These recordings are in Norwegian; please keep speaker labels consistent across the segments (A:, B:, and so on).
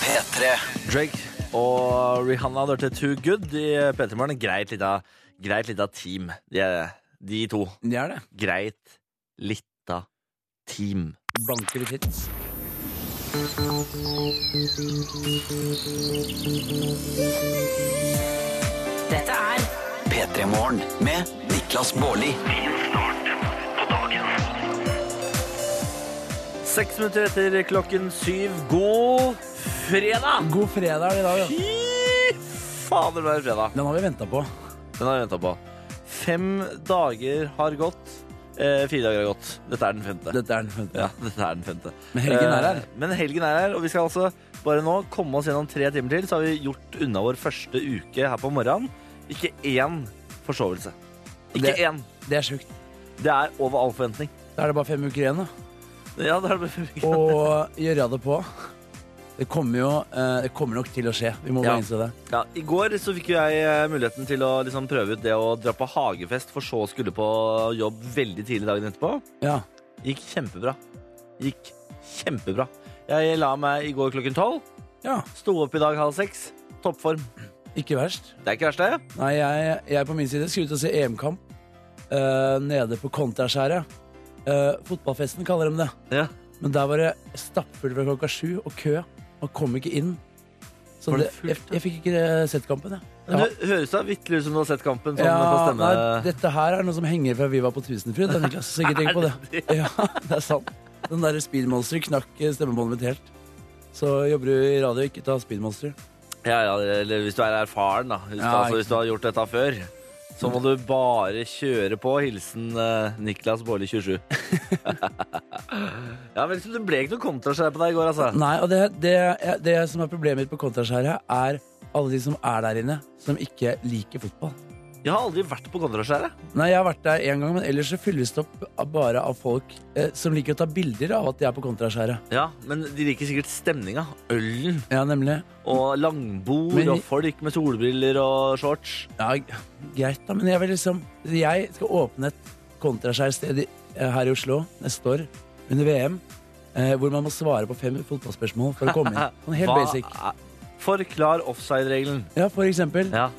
A: P3.
B: Drake og Rihanna hadde hørt til Too Good i P3 Morgen. Greit lita, greit lita team. De, er- de to.
A: Det er det.
B: Greit lita team.
A: Blanke litt hits.
C: Dette er P3 Morgen med Niklas Baarli.
B: Seks minutter etter klokken syv. God fredag!
A: God fredag er det i dag. ja.
B: Fy fader, det er fredag.
A: Den har vi venta på.
B: Den har jeg venta på. Fem dager har gått. Eh, fire dager har gått. Dette er den femte.
A: Dette er den femte.
B: Ja, dette er den femte.
A: Men helgen er
B: Eh,
A: her.
B: Men helgen er her, og vi skal altså bare nå komme oss gjennom tre timer til, så har vi gjort unna vår første uke her på morgenen. Ikke én forsovelse. Ikke
A: Det-
B: én.
A: Det er sjukt.
B: Det er over all forventning.
A: Da er det bare fem uker igjen, da.
B: Ja, det er det.
A: Og gjøre det på. Det kommer jo eh, Det kommer nok til å skje. Vi må bare
B: Ja.
A: innse det.
B: Ja, I går så fikk jo jeg eh, muligheten til å liksom prøve ut det å dra på hagefest, for så å skulle på jobb veldig tidlig dagen etterpå.
A: Ja.
B: Gikk kjempebra. Gikk kjempebra. Jeg la meg i går klokken tolv.
A: ja.
B: Sto opp i dag halv seks. Toppform.
A: Ikke verst.
B: Det er ikke verst, det.
A: Nei, jeg, jeg på min side skulle ut og se EM-kamp eh, nede på Kontraskjæret. Eh, fotballfesten kaller de det.
B: Ja.
A: Men der var det stappfullt fra klokka sju og kø. Man kom ikke inn. Så
B: Var
A: det,
B: det fullt,
A: jeg, jeg fikk ikke eh, sett kampen, jeg.
B: Men det høres da vitterlig ut som du har sett kampen sånn på
A: Ja,
B: stemme.
A: nei, dette her er noe som henger fra vi var på Tusenfryd. da, Niklas, så ikke tenk på det. Ja, det er sant. Den derre speedmonster knakk eh, stemmebåndet mitt helt. Så jobber du i radio, ikke ta speedmonster.
B: Ja, ja, eller hvis du er erfaren, da. Hvis, du,
A: Ja,
B: altså,
A: ikke
B: hvis du har gjort dette før, så må du bare kjøre på. Hilsen eh, Niklas Baarli 27. ja, vel, så det ble ikke noe kontrasjær på deg i går, altså.
A: Nei, og det, det, det som er problemet mitt på Kontraskjæret, er alle de som er der inne, som ikke liker fotball.
B: Jeg har aldri vært på kontraskjæret.
A: Nei, Jeg har vært der én gang, men ellers så fylles det opp av- bare av folk eh, som liker å ta bilder av at de er på Kontraskjæret.
B: Ja, men de liker sikkert stemninga. Ølen
A: Ja, nemlig.
B: og langbord
A: Men-
B: og folk med solbriller og shorts.
A: Ja, g- Greit, da, men jeg vil liksom Jeg skal åpne et Kontraskjær-sted i- eh, her i Oslo neste år, under VM, eh, hvor man må svare på fem fotballspørsmål for å komme inn. Sånn helt
B: Hva
A: basic.
B: er- Forklar offside-regelen.
A: Ja, for eksempel.
B: Ja.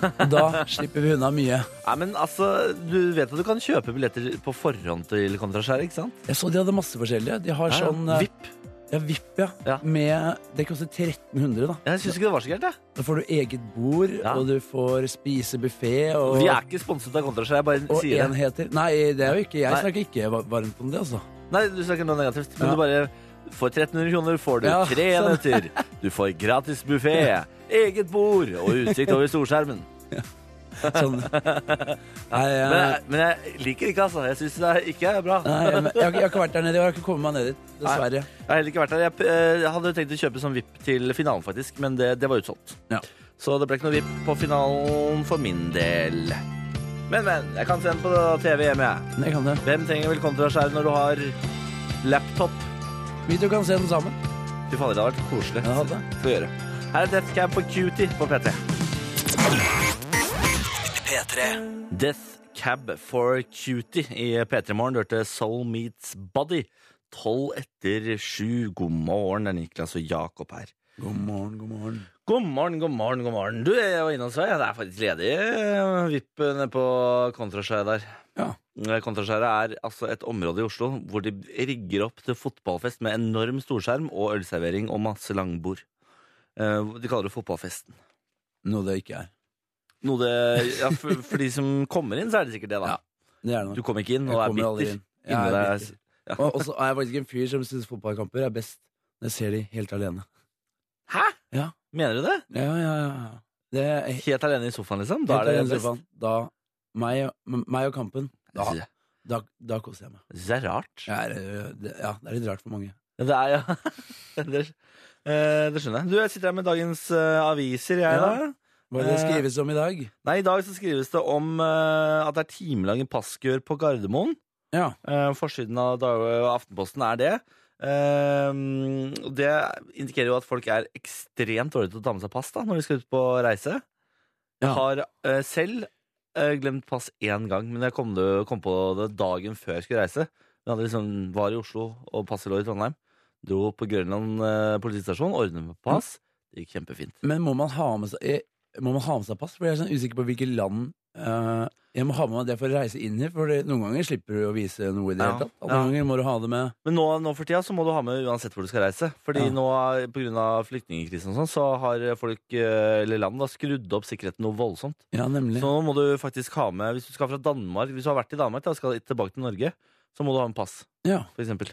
A: Da slipper vi unna mye.
B: Nei, men altså, Du vet at du kan kjøpe billetter på forhånd til Kontraskjæret, ikke sant?
A: Jeg så de hadde masse forskjellige. De har
B: Ja, ja.
A: sånn eh,
B: Vipp.
A: Ja, VIP, ja.
B: Ja.
A: Med, det koster 1300, da.
B: Jeg syns ikke det var så gærent. jeg.
A: Da får du eget bord,
B: Ja.
A: og du får spise buffé og,
B: Vi er ikke sponset av Kontraskjæret. Jeg bare
A: og
B: sier det.
A: enheter. Nei, det er jo ikke Jeg
B: Nei.
A: snakker ikke va- varmt om det, altså.
B: Nei, Du snakker noe negativt, men
A: Ja.
B: du bare For 1300 kroner får du
A: Ja,
B: tre
A: sånn.
B: enheter. Du får gratis buffé, eget bord og utsikt over storskjermen.
A: Sånn. Nei, jeg,
B: Men jeg, men jeg liker ikke, altså. Jeg syns det er- ikke er bra.
A: nei, jeg, jeg, har ikke- jeg har ikke vært der nede, og jeg har ikke kommet meg ned dit. Dessverre.
B: Jeg har heller ikke vært der. Jeg, eh, jeg hadde tenkt å kjøpe sånn VIP til finalen, faktisk, men det, det var utsolgt.
A: Ja.
B: Så det ble ikke noe VIP på finalen for min del. Men, men. Jeg kan se den på TV hjemme, jeg.
A: Men jeg kan det.
B: Hvem trenger vel kontraskjær når du har laptop?
A: Vi to kan se den sammen.
B: Fy fader, det hadde vært
A: Ja,
B: koselig.
A: det hadde.
B: Skal vi gjøre. Her er Death Cab for Cutie på P3.
C: P3.
B: Death Cab for Cutie i P3 Morgen. Du hørte Soul Meets Body. Tolv etter sju. God morgen, det er Niklas og Jakob her.
A: God morgen, god morgen.
B: God morgen, god morgen, god morgen. Du jeg var innom Sverige. Det er faktisk ledig eh, vipp nede på Kontraskjæret der.
A: Ja.
B: Eh, Kontraskjæret er altså et område i Oslo hvor de rigger opp til fotballfest med enorm storskjerm og ølservering og masse langbord. Eh, De kaller det fotballfesten.
A: Noe det ikke er.
B: Noe det, ja, for, for de som kommer inn, så er det sikkert det, da.
A: Ja, Det er det
B: Du
A: nok.
B: kom ikke inn
A: Jeg
B: og er
A: kommer aldri
B: bitter. altså.
A: inn. Jeg er
B: Inni deg-
A: bitter. Og og så er jeg faktisk en fyr som syns fotballkamper er best når jeg ser de helt alene.
B: Hæ?
A: Ja.
B: Mener du det?
A: Ja, ja, ja. Det er
B: Helt alene i sofaen, liksom? Da
A: Da
B: er det best.
A: Da, meg, m- meg og kampen, da,
B: Jeg synes det-
A: da, da koser jeg meg.
B: jeg synes det er rart.
A: Jeg er, øh, det, ja, det er litt rart for mange.
B: Ja, Det er, ja. det, eh, det skjønner jeg. Du, jeg sitter her med dagens eh, aviser, jeg,
A: Ja.
B: da.
A: Hva er det det
B: Eh,
A: skrives om i dag?
B: Nei, i dag så skrives det om eh, at det er timelange passkur på Gardermoen.
A: Ja.
B: Eh, forsiden av Dag- Aftenposten er det. Eh, og det indikerer jo at folk er ekstremt dårlige til å ta med seg pass da, når de skal ut på reise. Jeg
A: Ja.
B: har eh, selv eh, glemt pass én gang, men jeg kom, det, kom på det dagen før jeg skulle reise. Jeg hadde liksom, var i Oslo og passet lå i Trondheim. Dro på Grønland eh, politistasjon, ordnet med pass. Det gikk kjempefint.
A: Men må man ha med seg, eh, må man ha med seg pass? For jeg er sånn usikker på hvilke land eh, jeg må ha med meg det for å reise inn i. For det, noen ganger slipper du å vise noe i det
B: Ja,
A: hele tatt. Andre
B: ja.
A: ganger må du ha det med
B: Men nå, nå for tida så må du ha med uansett hvor du skal reise. Fordi
A: Ja.
B: nå er- på grunn av flyktningkrisen og sånn, så har folk, eh, eller land, da, skrudd opp sikkerheten noe voldsomt.
A: Ja, nemlig.
B: Så nå må du faktisk ha med, hvis du skal fra Danmark, hvis du har vært i Danmark da, og skal tilbake til Norge, så må du ha med pass,
A: Ja,
B: for eksempel.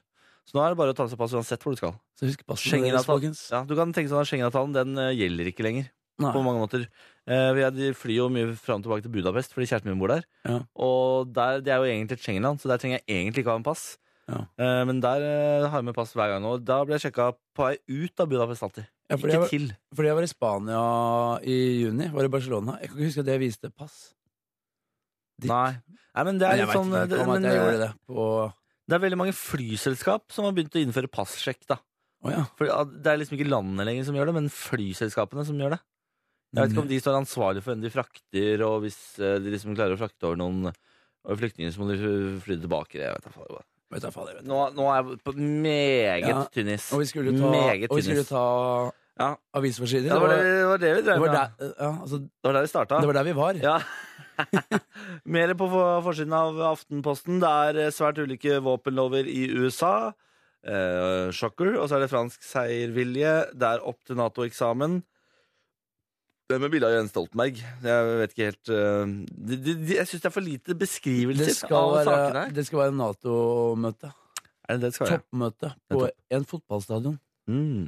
B: Så nå er det bare å ta med seg pass uansett hvor du skal.
A: så husk passet deres,
B: Schengen-avtalen
A: folkens.
B: ja, du kan tenke sånn at Schengen-avtalen den eh, gjelder ikke lenger.
A: Nei.
B: På mange måter eh, vi er- De flyr jo mye fram og tilbake til Budapest fordi kjæresten min bor der.
A: Ja.
B: Og der, det er jo egentlig et Schengen-land, så der trenger jeg egentlig ikke ha en pass.
A: Ja.
B: Eh, men der eh, har jeg med pass hver gang nå. Da blir jeg sjekka på vei ut av Budapest alltid.
A: Ja, fordi,
B: ikke
A: jeg var,
B: til.
A: fordi jeg var i Spania i juni, var i Barcelona. Jeg kan ikke huske at jeg viste pass. dit.
B: Nei. Nei, men det
A: Men
B: er
A: jeg
B: litt
A: vet ikke
B: sånn
A: om
B: men,
A: at jeg
B: eh,
A: gjorde det på Å
B: Det er veldig mange flyselskap som har begynt å innføre passsjekk. da
A: ja.
B: For ah, Det er liksom ikke landene lenger som gjør det, men flyselskapene som gjør det. Jeg vet ikke
A: Mm.
B: om de står ansvarlig for hvem de frakter, og hvis eh, de liksom klarer å frakte over noen eh, flyktninger, så må de fly tilbake. Jeg vet da faen.
A: Vet da fader, vet du.
B: nå, nå er jeg på meget
A: Ja,
B: tynn is.
A: Og vi skulle ta,
B: Meget
A: og vi skulle
B: tynnis.
A: ta
B: Ja.
A: avisforsider.
B: Ja, det, var det, det var det vi
A: det
B: drev
A: var
B: med. da.
A: der, ja, altså, det
B: Det var der vi starta.
A: var der vi var.
B: Ja. Mer på for- forsiden av Aftenposten. Det er eh, svært ulike våpenlover i USA. Eh, shocker. Og så er det fransk seiervilje. Det er opp til Nato-eksamen. Det med bilde av Jens Stoltenberg. Jeg vet ikke helt eh, de, de, de, Jeg syns det er for lite
A: Det
B: beskrivelser
A: skal
B: av sakene
A: være,
B: her.
A: det skal være Nato-møte.
B: Er det det det skal være?
A: Toppmøte på
B: Nettopp.
A: en fotballstadion.
B: Mm.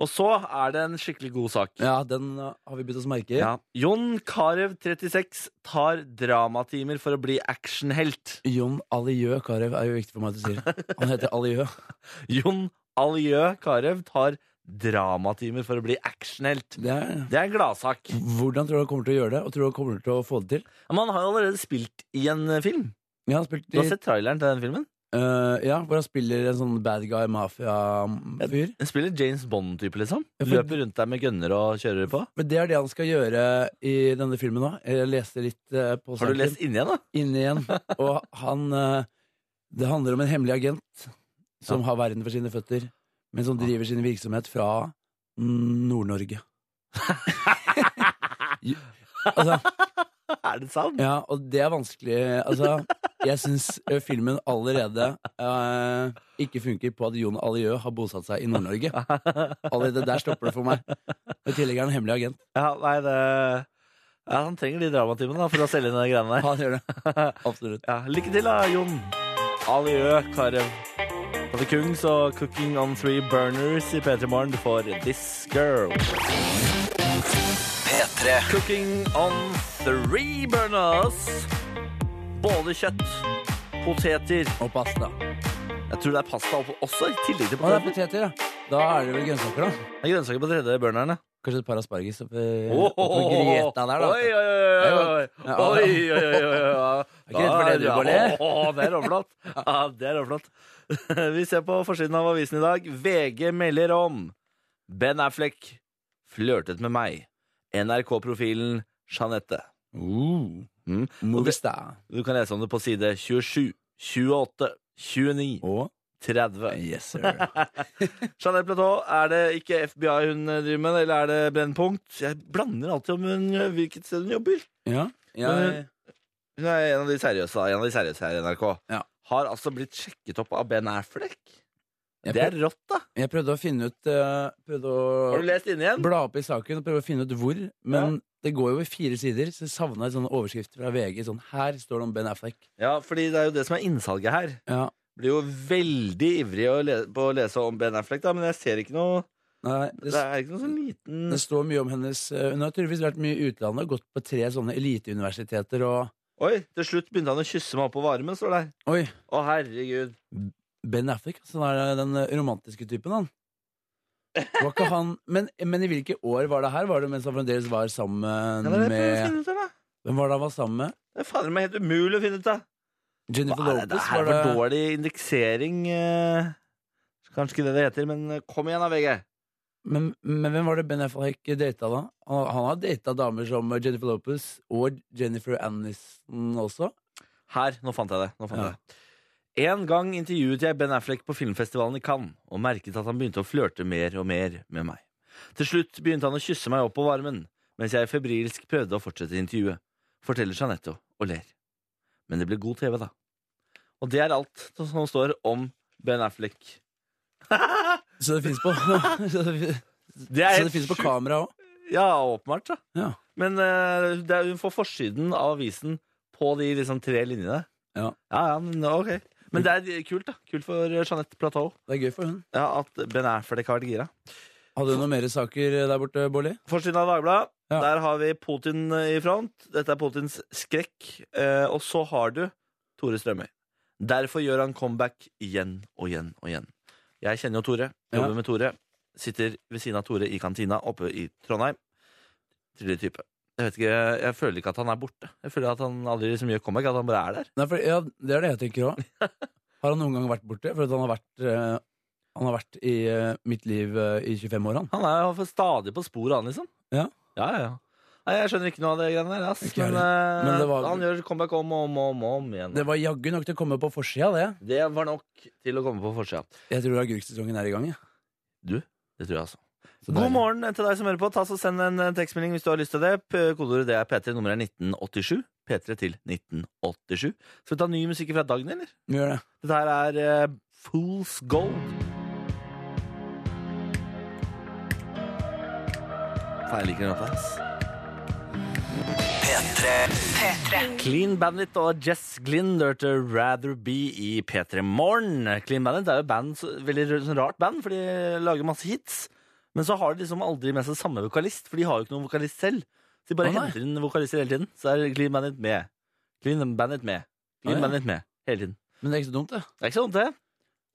B: Og så er det en skikkelig god sak.
A: Ja, den uh, har vi bitt oss merke i.
B: Ja. Jon Carew, 36, tar dramatimer for å bli actionhelt.
A: Jon Aliø Carew er jo viktig for meg at du sier. Han heter Aliø.
B: Jon Aliø Carew tar dramatimer for å bli actionhelt.
A: Det er
B: Det er en gladsak.
A: hvordan tror du han kommer til å gjøre det, og tror du han kommer til å få det til?
B: Men han har jo allerede spilt i en eh, film.
A: Ja, han spilte
B: Du har
A: i,
B: sett traileren til den filmen?
A: eh, ja, hvor han spiller en sånn bad guy mafia-fyr.
B: Han spiller James Bond-type, liksom.
A: Ja, for-
B: Løper rundt der med gunner og kjører på.
A: Men det er det han skal gjøre i denne filmen òg. Jeg leste litt eh, på
B: Har du
A: saken.
B: lest inni igjen, da?
A: inn igjen. Og han eh, Det handler om en hemmelig agent som har verden for sine føtter, men som driver sin virksomhet fra mm, Nord-Norge. Jo, altså,
B: Er det sant?
A: ja, og det er vanskelig Altså, jeg syns filmen allerede eh, ikke funker på at Jon Aliø har bosatt seg i Nord-Norge. Allerede der stopper det for meg. I tillegg er han hemmelig agent.
B: Ja, nei, det ja, Han trenger de dramatimene da, for å selge inn de greiene der.
A: Han gjør det. Absolutt.
B: Ja, lykke til, da, Jon. Aliø Carew. Både Kungs og Cooking on Three Burners i P3 Morgen for This Girl.
C: P3
B: Cooking on three burners. Både kjøtt, poteter
A: Og pasta.
B: Jeg tror det er pasta opp- også, i tillegg
A: Å,
B: til
A: det er
B: poteter.
A: poteter, ja. Da er det vel grønnsaker, da.
B: Det er grønnsaker på tredje burneren, ja.
A: Kanskje et par asparges oppi
B: Åh,
A: oppi noe grieta der, da.
B: Oi, oi, oi, oi,
A: Ja.
B: oi, oi, oi, oi, oi, oi.
A: Er ikke redd for det du,
B: Ja,
A: Bolle?
B: åh, åh, Det er råflott. Ja, det er råflott. Vi ser på forsiden av avisen i dag. VG melder om Ben Affleck flørtet med meg. NRK-profilen Jeanette.
A: Uh,
B: Mm.
A: movie
B: det-
A: star.
B: Du kan lese om det på side 27, 28, 29,
A: Og
B: 30.
A: yes, sir.
B: Jeanette Platou, er det ikke FBI hun eh, driver med, eller er det Brennpunkt? Jeg blander alltid om hun, eh, hvilket sted hun jobber.
A: ja. Jeg,
B: Hun er en av de seriøse, da, en av de seriøse her i NRK.
A: Ja.
B: Har altså blitt sjekket opp av Ben Affleck.
A: jeg,
B: Det er
A: prøvde,
B: rått, da.
A: jeg prøvde å finne ut eh, Prøvde
B: Har du
A: å
B: lest inn igjen?
A: bla opp i saken og prøve å finne ut hvor, men det går jo i fire sider, så jeg savna en sånn overskrift fra VG. Sånn her står det om Ben Affleck.
B: Ja, fordi det er jo det som er innsalget her.
A: Ja.
B: Blir jo veldig ivrig å le på å lese om Ben Affleck, da, men jeg ser ikke noe
A: Nei,
B: Det
A: det, s-
B: er ikke noe sånn liten
A: det står mye om hennes eh, Hun har tydeligvis vært mye i utlandet og gått på tre sånne eliteuniversiteter og
B: Oi, til slutt begynte han å kysse meg oppå varmen, står det her.
A: Oi!
B: Å, herregud.
A: Ben Affleck, altså, han er den romantiske typen, han. Var ikke han men, men i hvilke år var det her? Var det mens han fremdeles var sammen
B: Ja, det er det jeg prøver
A: med
B: å finne ut av, da.
A: Hvem var det han var sammen med?
B: Det er fader meg helt umulig å finne ut av.
A: Jennifer
B: Hva er det, det
A: Lopez?
B: er
A: var
B: for
A: det
B: dårlig indeksering. eh, Kanskje ikke det det heter, men eh, kom igjen da, VG.
A: men, men hvem var det Ben Affleck data, da? Han, han har data damer som Jennifer Lopez og Jennifer Aniston også.
B: Her, nå fant jeg det. Nå fant
A: Ja.
B: jeg det. En gang intervjuet jeg Ben Affleck på filmfestivalen i Cannes og merket at han begynte å flørte mer og mer med meg. Til slutt begynte han å kysse meg opp på varmen, mens jeg febrilsk prøvde å fortsette intervjuet, forteller Jeanette og ler. Men det ble god TV, da. Og det er alt som står om Ben Affleck.
A: Så det fins på, så det,
B: Det
A: så
B: er
A: det
B: helt
A: finnes på
B: sjukt.
A: kamera òg?
B: Ja, åpenbart. Da.
A: Ja.
B: Men eh, det er, hun får forsiden av avisen på de liksom, tre linjene.
A: Ja.
B: ja, ja, men ok. Men det er kult, da. Kult for Jeanette Platou
A: Det er gøy for hun.
B: ja, at Ben Affleck har vært gira.
A: Hadde du noen mer saker eh, der borte, Bolli?
B: Forsiden av Dagbladet.
A: Ja.
B: Der har vi Putin eh, i front. Dette er Putins skrekk. Eh, og så har du Tore Strømøy. Derfor gjør han comeback igjen og igjen og igjen. Jeg kjenner jo Tore. Jobber
A: Ja.
B: med Tore. Sitter ved siden av Tore i kantina oppe i Trondheim. Trivelig type. Jeg vet ikke, jeg føler ikke at han er borte. Jeg føler at han aldri liksom gjør comeback, at han bare er der.
A: Nei, for, ja, det er det jeg tenker òg. Har han noen gang vært borte? For at han har vært, eh, han har vært i eh, mitt liv eh, i 25 år, han.
B: Han er jo stadig på sporet, han, liksom.
A: Ja.
B: ja, ja, ja. Nei, jeg skjønner ikke noe av det greiene der, ass.
A: Ikke jeg
B: Men, eh,
A: Men det var-
B: han gjør comeback om og om og om, og om igjen.
A: Det var jaggu nok til å komme på forsida, det.
B: Det var nok til å komme på forsida.
A: Jeg tror agurksesongen er i gang. jeg.
B: Det tror jeg altså.
A: Så
B: God
A: deilig.
B: morgen til deg som hører på. Ta så Send en eh, tekstmelding hvis du har lyst til det. P- Kodeordet det er P3. Nummeret er 1987. P3 til 1987. Skal vi ta ny musikk fra dagen, eller?
A: Vi gjør det.
B: Dette her er eh, Fools Gold. Nei, Jeg liker den låta. ass. Clean Bandit og Jess Glynn hørte Rather Be i P3 Morgen. Clean Bandit er jo band, så- veldig r- sånn rart band, for de lager masse hits. Men så har de liksom aldri med seg samme vokalist, for de har jo ikke noen vokalist selv. Så de bare
A: Å, nei.
B: henter inn vokalister hele tiden. Så er Clean Bandit med. Clean Bandit med. Clean
A: Å, ja.
B: Bandit med. Hele tiden.
A: Men det er ikke så dumt, det.
B: Det er ikke sånn det.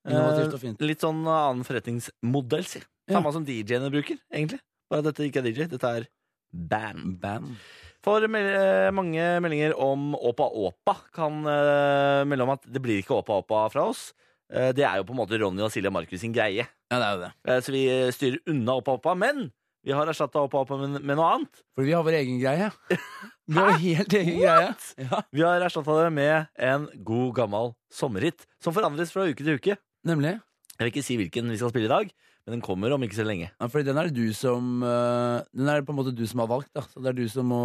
A: Innovativt og fint.
B: Eh, Litt sånn annen forretningsmodell, si.
A: Ja.
B: Samme som DJ-ene bruker, egentlig. Bare dette ikke er DJ, dette er band.
A: Bam.
B: For mel eh, mange meldinger om Åpa Åpa kan eh, melde om at det blir ikke Åpa Åpa fra oss. Eh, det er jo på en måte Ronny og Silje Markus sin greie.
A: Ja, det er jo det.
B: Eh, så vi eh, styrer unna Åpa Åpa, men vi har erstatta Åpa Åpa med, med noe annet.
A: For vi har vår egen greie. Vi har helt egen greie. Ja.
B: Vi har erstatta det med en god, gammel sommerhit som forandres fra uke til uke.
A: Nemlig.
B: Jeg vil ikke si hvilken vi skal spille i dag, men den kommer om ikke så lenge.
A: Ja, fordi den er det du som øh, Den er det på en måte du som har valgt, da. Så det er du som må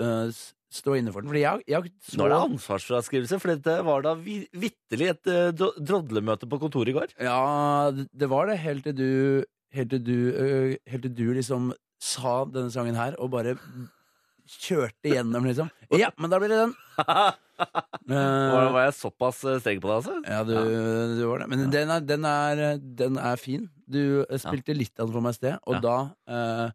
A: øh, s- stå inne for den. Fordi jeg, jeg har ikke så
B: Nå er det ansvarsfraskrivelse, for dette var da vi- vitterlig et eh, dro- drodlemøte på kontoret i går.
A: Ja, det- det var det helt til du Helt til du, øh, helt til du liksom sa denne sangen her og bare kjørte gjennom, liksom. Ja, men da blir det den.
B: Var,
A: Eh,
B: var jeg såpass eh, streng på deg, altså?
A: ja, du, du var det. Men den, er, den, er, den er fin. Du eh, spilte litt av den for meg i sted, og
B: Ja.
A: da eh,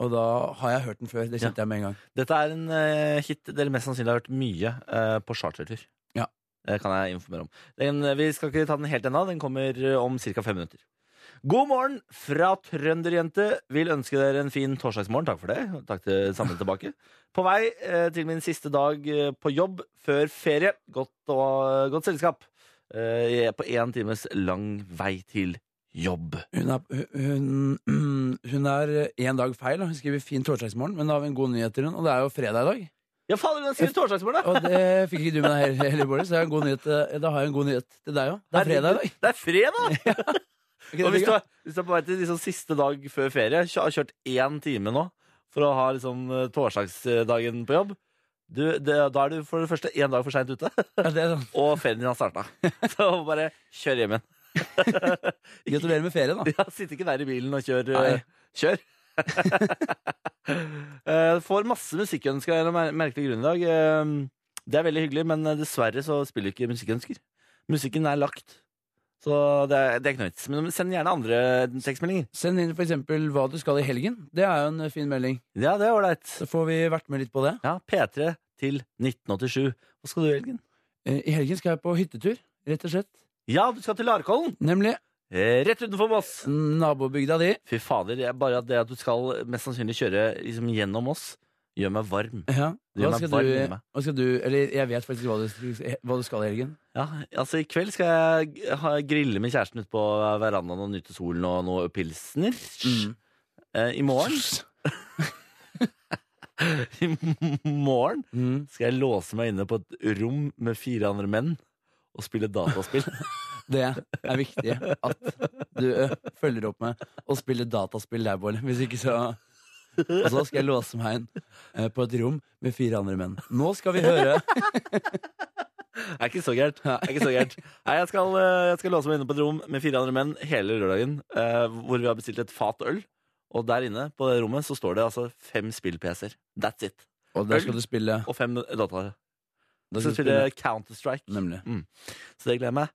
A: Og da har jeg hørt den før. Det kjente jeg med en gang.
B: Dette er en eh, hit dere mest sannsynlig har hørt mye eh, på chartertur.
A: Ja.
B: Det kan jeg informere om. Den, vi skal ikke ta den helt ennå. Den kommer eh, om ca. fem minutter. God morgen fra trønderjente. Vil ønske dere en fin torsdagsmorgen. Takk for det. og Takk til samme tilbake. På vei eh, til min siste dag eh, på jobb før ferie. Godt, og, godt selskap. Eh, jeg er på én times lang vei til jobb.
A: Hun er, hun, hun- hun er en dag feil. da. Hun skriver 'fin torsdagsmorgen', men da har vi en god nyhet til hun og det er jo fredag i dag.
B: Ja, fader, den skriver torsdagsmorgen, da!
A: Og det fikk ikke du med deg heller, heller, Bård, så jeg har en god nyhet, til- da har jeg en god nyhet til deg òg. Det er fredag i dag.
B: Det er fredag!
A: Er ikke
B: Og
A: det
B: hvis du,
A: digg,
B: er, hvis du er på vei til liksom siste dag før ferie, kjø- har kjørt én time nå for å ha liksom eh, torsdagsdagen på jobb du, det, Da er du for det første én dag for seint ute,
A: da? Ja, det er sånn.
B: og ferien din har starta. Så bare kjør hjem igjen.
A: Gratulerer med ferie, da.
B: Ja, Sitt ikke der i bilen og kjør. eh,
A: Nei.
B: Kjør! Eh, Får masse musikkønsker av en mer- merkelig grunn i dag. Eh, Det er veldig hyggelig, men dessverre så spiller vi ikke musikkønsker. Musikken er lagt. Så det er, det er ikke noe vits. Men send gjerne andre tekstmeldinger.
A: Send inn for eksempel hva du skal i helgen. Det er jo en fin melding.
B: Ja, det er ålreit.
A: Så får vi vært med litt på det.
B: Ja, P3 til 1987. Hva skal du i helgen?
A: Eh, I helgen skal jeg på hyttetur, rett og slett.
B: Ja, du skal til Larkollen!
A: Nemlig
B: Eh, Rett utenfor Moss!
A: nabobygda di.
B: Fy fader, jeg, bare at det at du skal mest sannsynlig kjøre liksom, gjennom Moss, gjør meg varm.
A: Ja.
B: Det gjør
A: Hva
B: meg
A: skal,
B: varm
A: du,
B: inni meg.
A: hva skal du Eller jeg vet faktisk hva du, hva du skal i helgen.
B: Ja, altså I kveld skal jeg g- ha, grille med kjæresten ute på verandaen og nyte solen og noe pilsner. Eh, I morgen I morgen
A: Mm.
B: skal jeg låse meg inne på et rom med fire andre menn og spille dataspill.
A: Det er viktig at du ø, følger opp med å spille dataspill der, Bård. Hvis ikke så Og så skal jeg låse meg inn ø, på et rom med fire andre menn. Nå skal vi høre
B: Det er ikke så gærent. Det er ikke så gærent. Nei, jeg skal, eh, jeg skal låse meg inne på et rom med fire andre menn hele lørdagen, eh, hvor vi har bestilt et fat øl. Og der inne på det rommet så står det altså fem spill-PC-er. That's it.
A: Og der skal du spille.
B: Og fem dataer.
A: Der
B: Så
A: skal du
B: spiller
A: spille.
B: Counter-Strike.
A: Nemlig.
B: Så det gleder jeg meg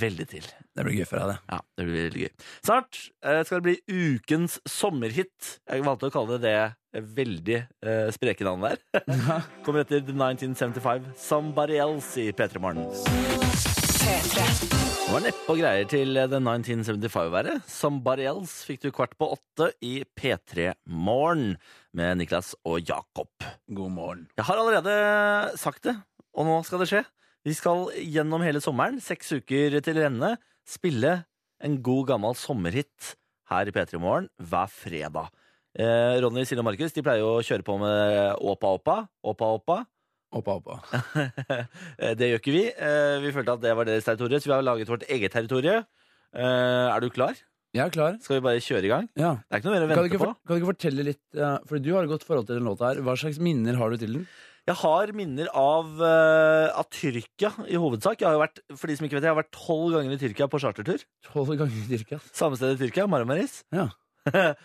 B: veldig til.
A: Det blir gøy for deg, det.
B: Ja, det blir veldig gøy. Snart eh, skal det bli ukens sommerhit. Jeg valgte å kalle det det veldig eh, spreke navnet der. Kommer etter The 1975 Somebody Else i P3 Morgen. Det var neppe og greier til eh, The 1975-været. Somebody Else fikk du kvart på åtte i P3 Morgen med Niklas og Jakob.
A: God morgen.
B: Jeg har allerede sagt det, og nå skal det skje. Vi skal gjennom hele sommeren, seks uker til ende, spille en god gammel sommerhit her i P3 Morgen hver fredag. Eh, Ronny, Silje og Markus de pleier jo å kjøre på med Åpa Åpa, Åpa Åpa.
A: Hoppa, hoppa.
B: Eh, det gjør ikke vi. Eh, vi følte at det var deres territorium, så vi har laget vårt eget territorium. Eh, er du klar?
A: Jeg er klar.
B: Skal vi bare kjøre i gang?
A: Ja.
B: Det er ikke noe mer å
A: Kan du,
B: vente
A: ikke
B: på.
A: for, kan du ikke fortelle litt, eh, for du har et godt forhold til den låta her. Hva slags minner har du til den?
B: Jeg har minner av, eh, av Tyrkia i hovedsak. Jeg har jo vært, for de som ikke vet det, jeg har vært tolv ganger i Tyrkia på chartertur.
A: Tolv ganger i Tyrkia. ass.
B: Samme sted i Tyrkia, Marmaris.
A: Ja.
B: Eh,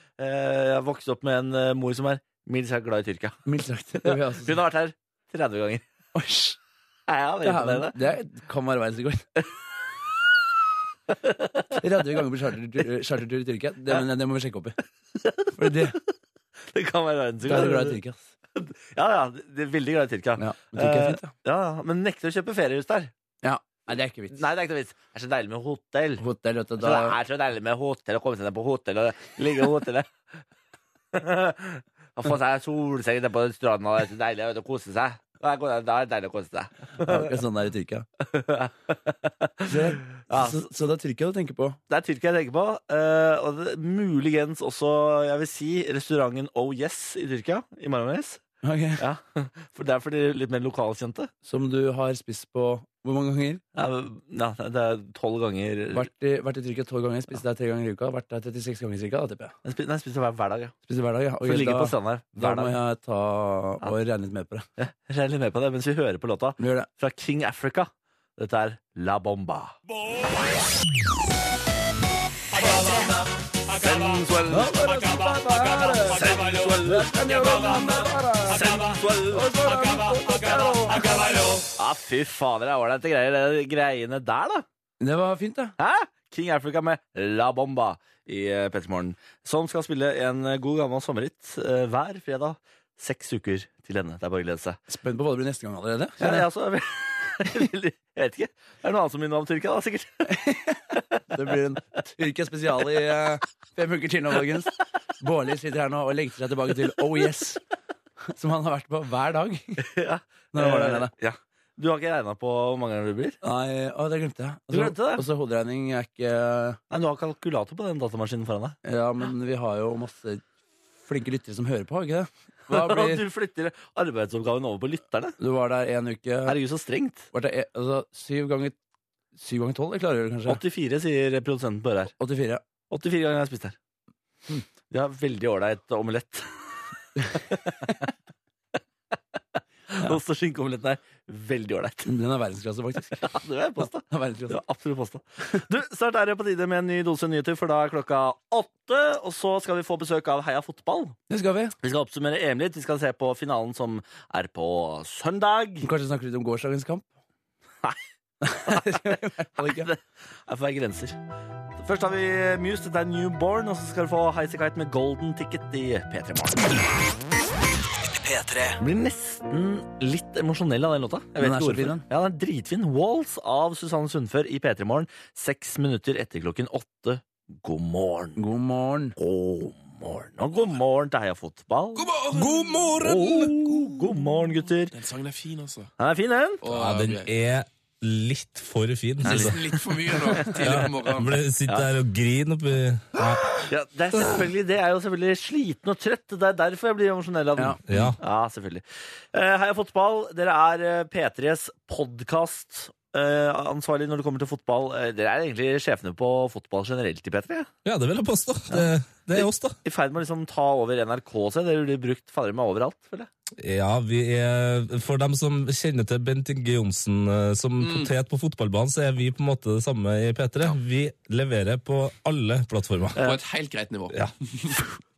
B: jeg vokste opp med en eh, mor som er mildt sagt glad i Tyrkia.
A: Mildt sagt. Det, vil jeg også si.
B: Hun har vært her 30 ganger.
A: Oi, sj.
B: Ja,
A: det, er,
B: det.
A: det er- kan være verdensrekord. 30 ganger på chartertur, chartertur eh, i Tyrkia. Det, men, det må vi sjekke opp i. For det,
B: det kan være
A: da er du glad i
B: verdensrekord.
A: Tyrkia. ass.
B: Ja, ja, det er veldig glad i Tyrkia.
A: Ja, men Tyrkia er fint, da.
B: Ja, ja, Men nekter å kjøpe feriehus der.
A: Nei, det er ikke vits.
B: Nei, det er ikke noe vits. Det er så deilig med hotell.
A: Hotell, vet du,
B: Så det
A: da
B: er så deilig med hotell, å komme seg ned på hotell og ligge i hotellet. Å få seg solseng nede på stranda, det er så deilig vet du, å kose seg. Da er det- da er det deilig å kose seg.
A: Det er ikke sånn det er i Tyrkia. Så, så, så det er Tyrkia du tenker på.
B: Det er Tyrkia jeg tenker på, eh, og det, muligens også, jeg vil si, restauranten Oh Yes i Tyrkia, i Marmaris.
A: Ok.
B: Ja, for det er for de litt mer lokalkjente.
A: Som du har spist på hvor mange ganger?
B: Ja, men- ja, det er tolv ganger.
A: Vært i, vært i Tyrkia tolv ganger, spist der tre ganger i uka. Vært der 36 ganger ca. tipper jeg.
B: Den spi- den spiser hver, hver dag, ja.
A: Spiser hver dag, ja. Ok,
B: For det ligger på
A: da,
B: stranda her
A: da
B: hver
A: må
B: dag.
A: jeg ta og regne litt med på det.
B: Jeg er litt med på det mens vi hører på låta.
A: Vi gjør det.
B: fra King Africa. Dette er La Bomba. Sensuell Ja, fy fader, det er ålreite greier, det greiene der, da.
A: Det var fint, det.
B: Hæ? King Africa med La Bomba i eh, Pettermorgen. Som skal spille en god gammel sommerhit eh, hver fredag. Seks uker til ende. Det er bare å glede seg.
A: Spent på hva det blir neste gang allerede.
B: Ja,
A: kjenner
B: jeg,
A: jeg.
B: også, er veldig- jeg vet ikke. Det er noe annet som minner meg om Tyrkia, da, sikkert.
A: Det blir en Tyrkia spesial i eh, fem uker til nå, folkens. Bårli sitter her nå og lengter seg tilbake til Oh Yes, som han har vært på hver dag.
B: Ja. Eh,
A: Når han var der nede.
B: Ja. Du har ikke regna på hvor mange ganger du blir?
A: Nei, å, det glemte jeg.
B: Du glemte det?
A: Og så hoderegning er ikke eh,
B: Nei, Du har kalkulator på den datamaskinen foran deg.
A: Ja, men vi har jo masse flinke lyttere som hører på, ikke det? Hva blir
B: Du flytter arbeidsoppgaven over på lytterne.
A: Du var der en uke.
B: Herregud, så strengt.
A: Var det, altså, syv ganger Syv ganger tolv? Jeg klarer det kanskje.
B: 84, sier produsenten på øret her.
A: 84.
B: 84 ganger jeg har spist her. De har veldig ålreit omelett. Ost- og skinkeomeletten er veldig ålreit.
A: Den er verdensklasse, faktisk.
B: Ja, det er pasta.
A: Den er
B: Det
A: verdensklasse.
B: var absolutt pasta. Du, Snart er det på tide med en ny dose nyheter, for da er klokka åtte. Og så skal vi få besøk av Heia fotball.
A: Det skal vi.
B: Vi skal oppsummere EM litt. Vi skal se på finalen som er på søndag.
A: Hm, Kanskje snakke litt om gårsdagens kamp?
B: Nei.
A: det skal vi i hvert fall ikke.
B: Det er for grenser. Først har vi Muse, dette er Newborn, og så skal du få Highasakite med Golden Ticket i P3 Morgen.
C: P3
B: Blir nesten litt emosjonell av den låta. Jeg
A: Den er
B: vet ikke
A: så
B: hvorfor.
A: fin, den.
B: Ja, den er dritfin. Walls av Susanne Sundfør i P3 Morgen. Seks minutter etter klokken åtte. God morgen.
A: God morgen.
B: God morgen. Og god morgen til Heia Fotball. God
D: God morgen!
B: morgen, god morgen gutter.
D: Den sangen er fin, altså.
B: Den er fin, den.
E: Ja, den er litt for fin. Silje.
D: Nesten litt for mye nå, tidlig på
E: Jeg
D: morgenen.
E: ble sitte der og grine oppi ja.
B: Ja, det er selvfølgelig det. Jeg er jo selvfølgelig sliten og trøtt. Det er derfor jeg blir emosjonell av den.
A: Ja.
E: ja.
B: Ja, selvfølgelig. Eh, Heia fotball, dere er eh, P3s podkast eh, ansvarlig når det kommer til fotball. Eh, Dere er egentlig sjefene på fotball generelt i P3.
E: Ja, det vil jeg påstå. Det, det er oss, da.
B: I ferd med å liksom ta over NRK seg. Dere blir brukt fader meg overalt, føler jeg.
E: Ja, vi er, For dem som kjenner til Bent Inge Johnsen eh, som
B: Mm.
E: potet på fotballbanen, så er vi på en måte det samme i P3. Vi leverer på alle plattformer.
D: På et helt greit nivå.
E: Ja.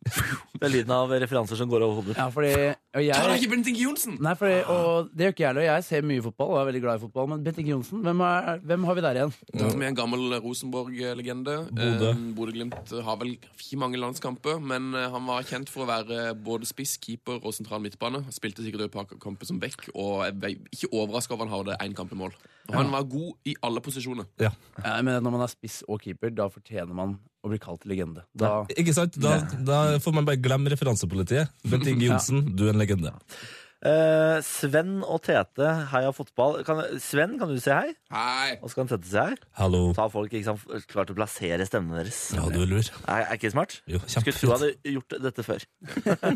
B: Det er lyden av referanser som går over hodet.
A: Ja, fordi og
D: Ta deg
A: jeg,
D: ikke Bent Inge Johnsen!
A: Nei, fordi, og det gjør ikke jeg heller. Jeg ser mye fotball og er veldig glad i fotball. Men Bent Inge Johnsen, hvem, er, hvem har vi der igjen?
D: Da har vi en gammel Rosenborg-legende.
E: Bodø.
D: Eh, Bodø-Glimt har vel ikke mange landskamper, men eh, han var kjent for å være både spiss, keeper og sentral midtbane. Han Spilte sikkert et par kamper som back, og jeg ble ikke overraska over at han hadde én kamp i mål. Og han var god i alle posisjoner.
E: Ja.
A: Ja, Jeg mener, når man er spiss og keeper, da fortjener man å bli kalt legende. Da,
E: Ikke sant? Da, da får man bare glemme referansepolitiet. Bent Inge Johnsen, du er en legende.
B: Eh, Sven og Tete, heia fotball. Kan, Sven, kan du si hei?
D: Hei!
B: Og så kan Tete si hei.
E: Hallo.
B: Så har folk ikke sant, klart å plassere stemmen deres.
E: Ja, du er lur.
B: Er, er ikke det smart?
E: Jo,
B: Skulle tro jeg
E: kjempefint.
B: hadde gjort dette før.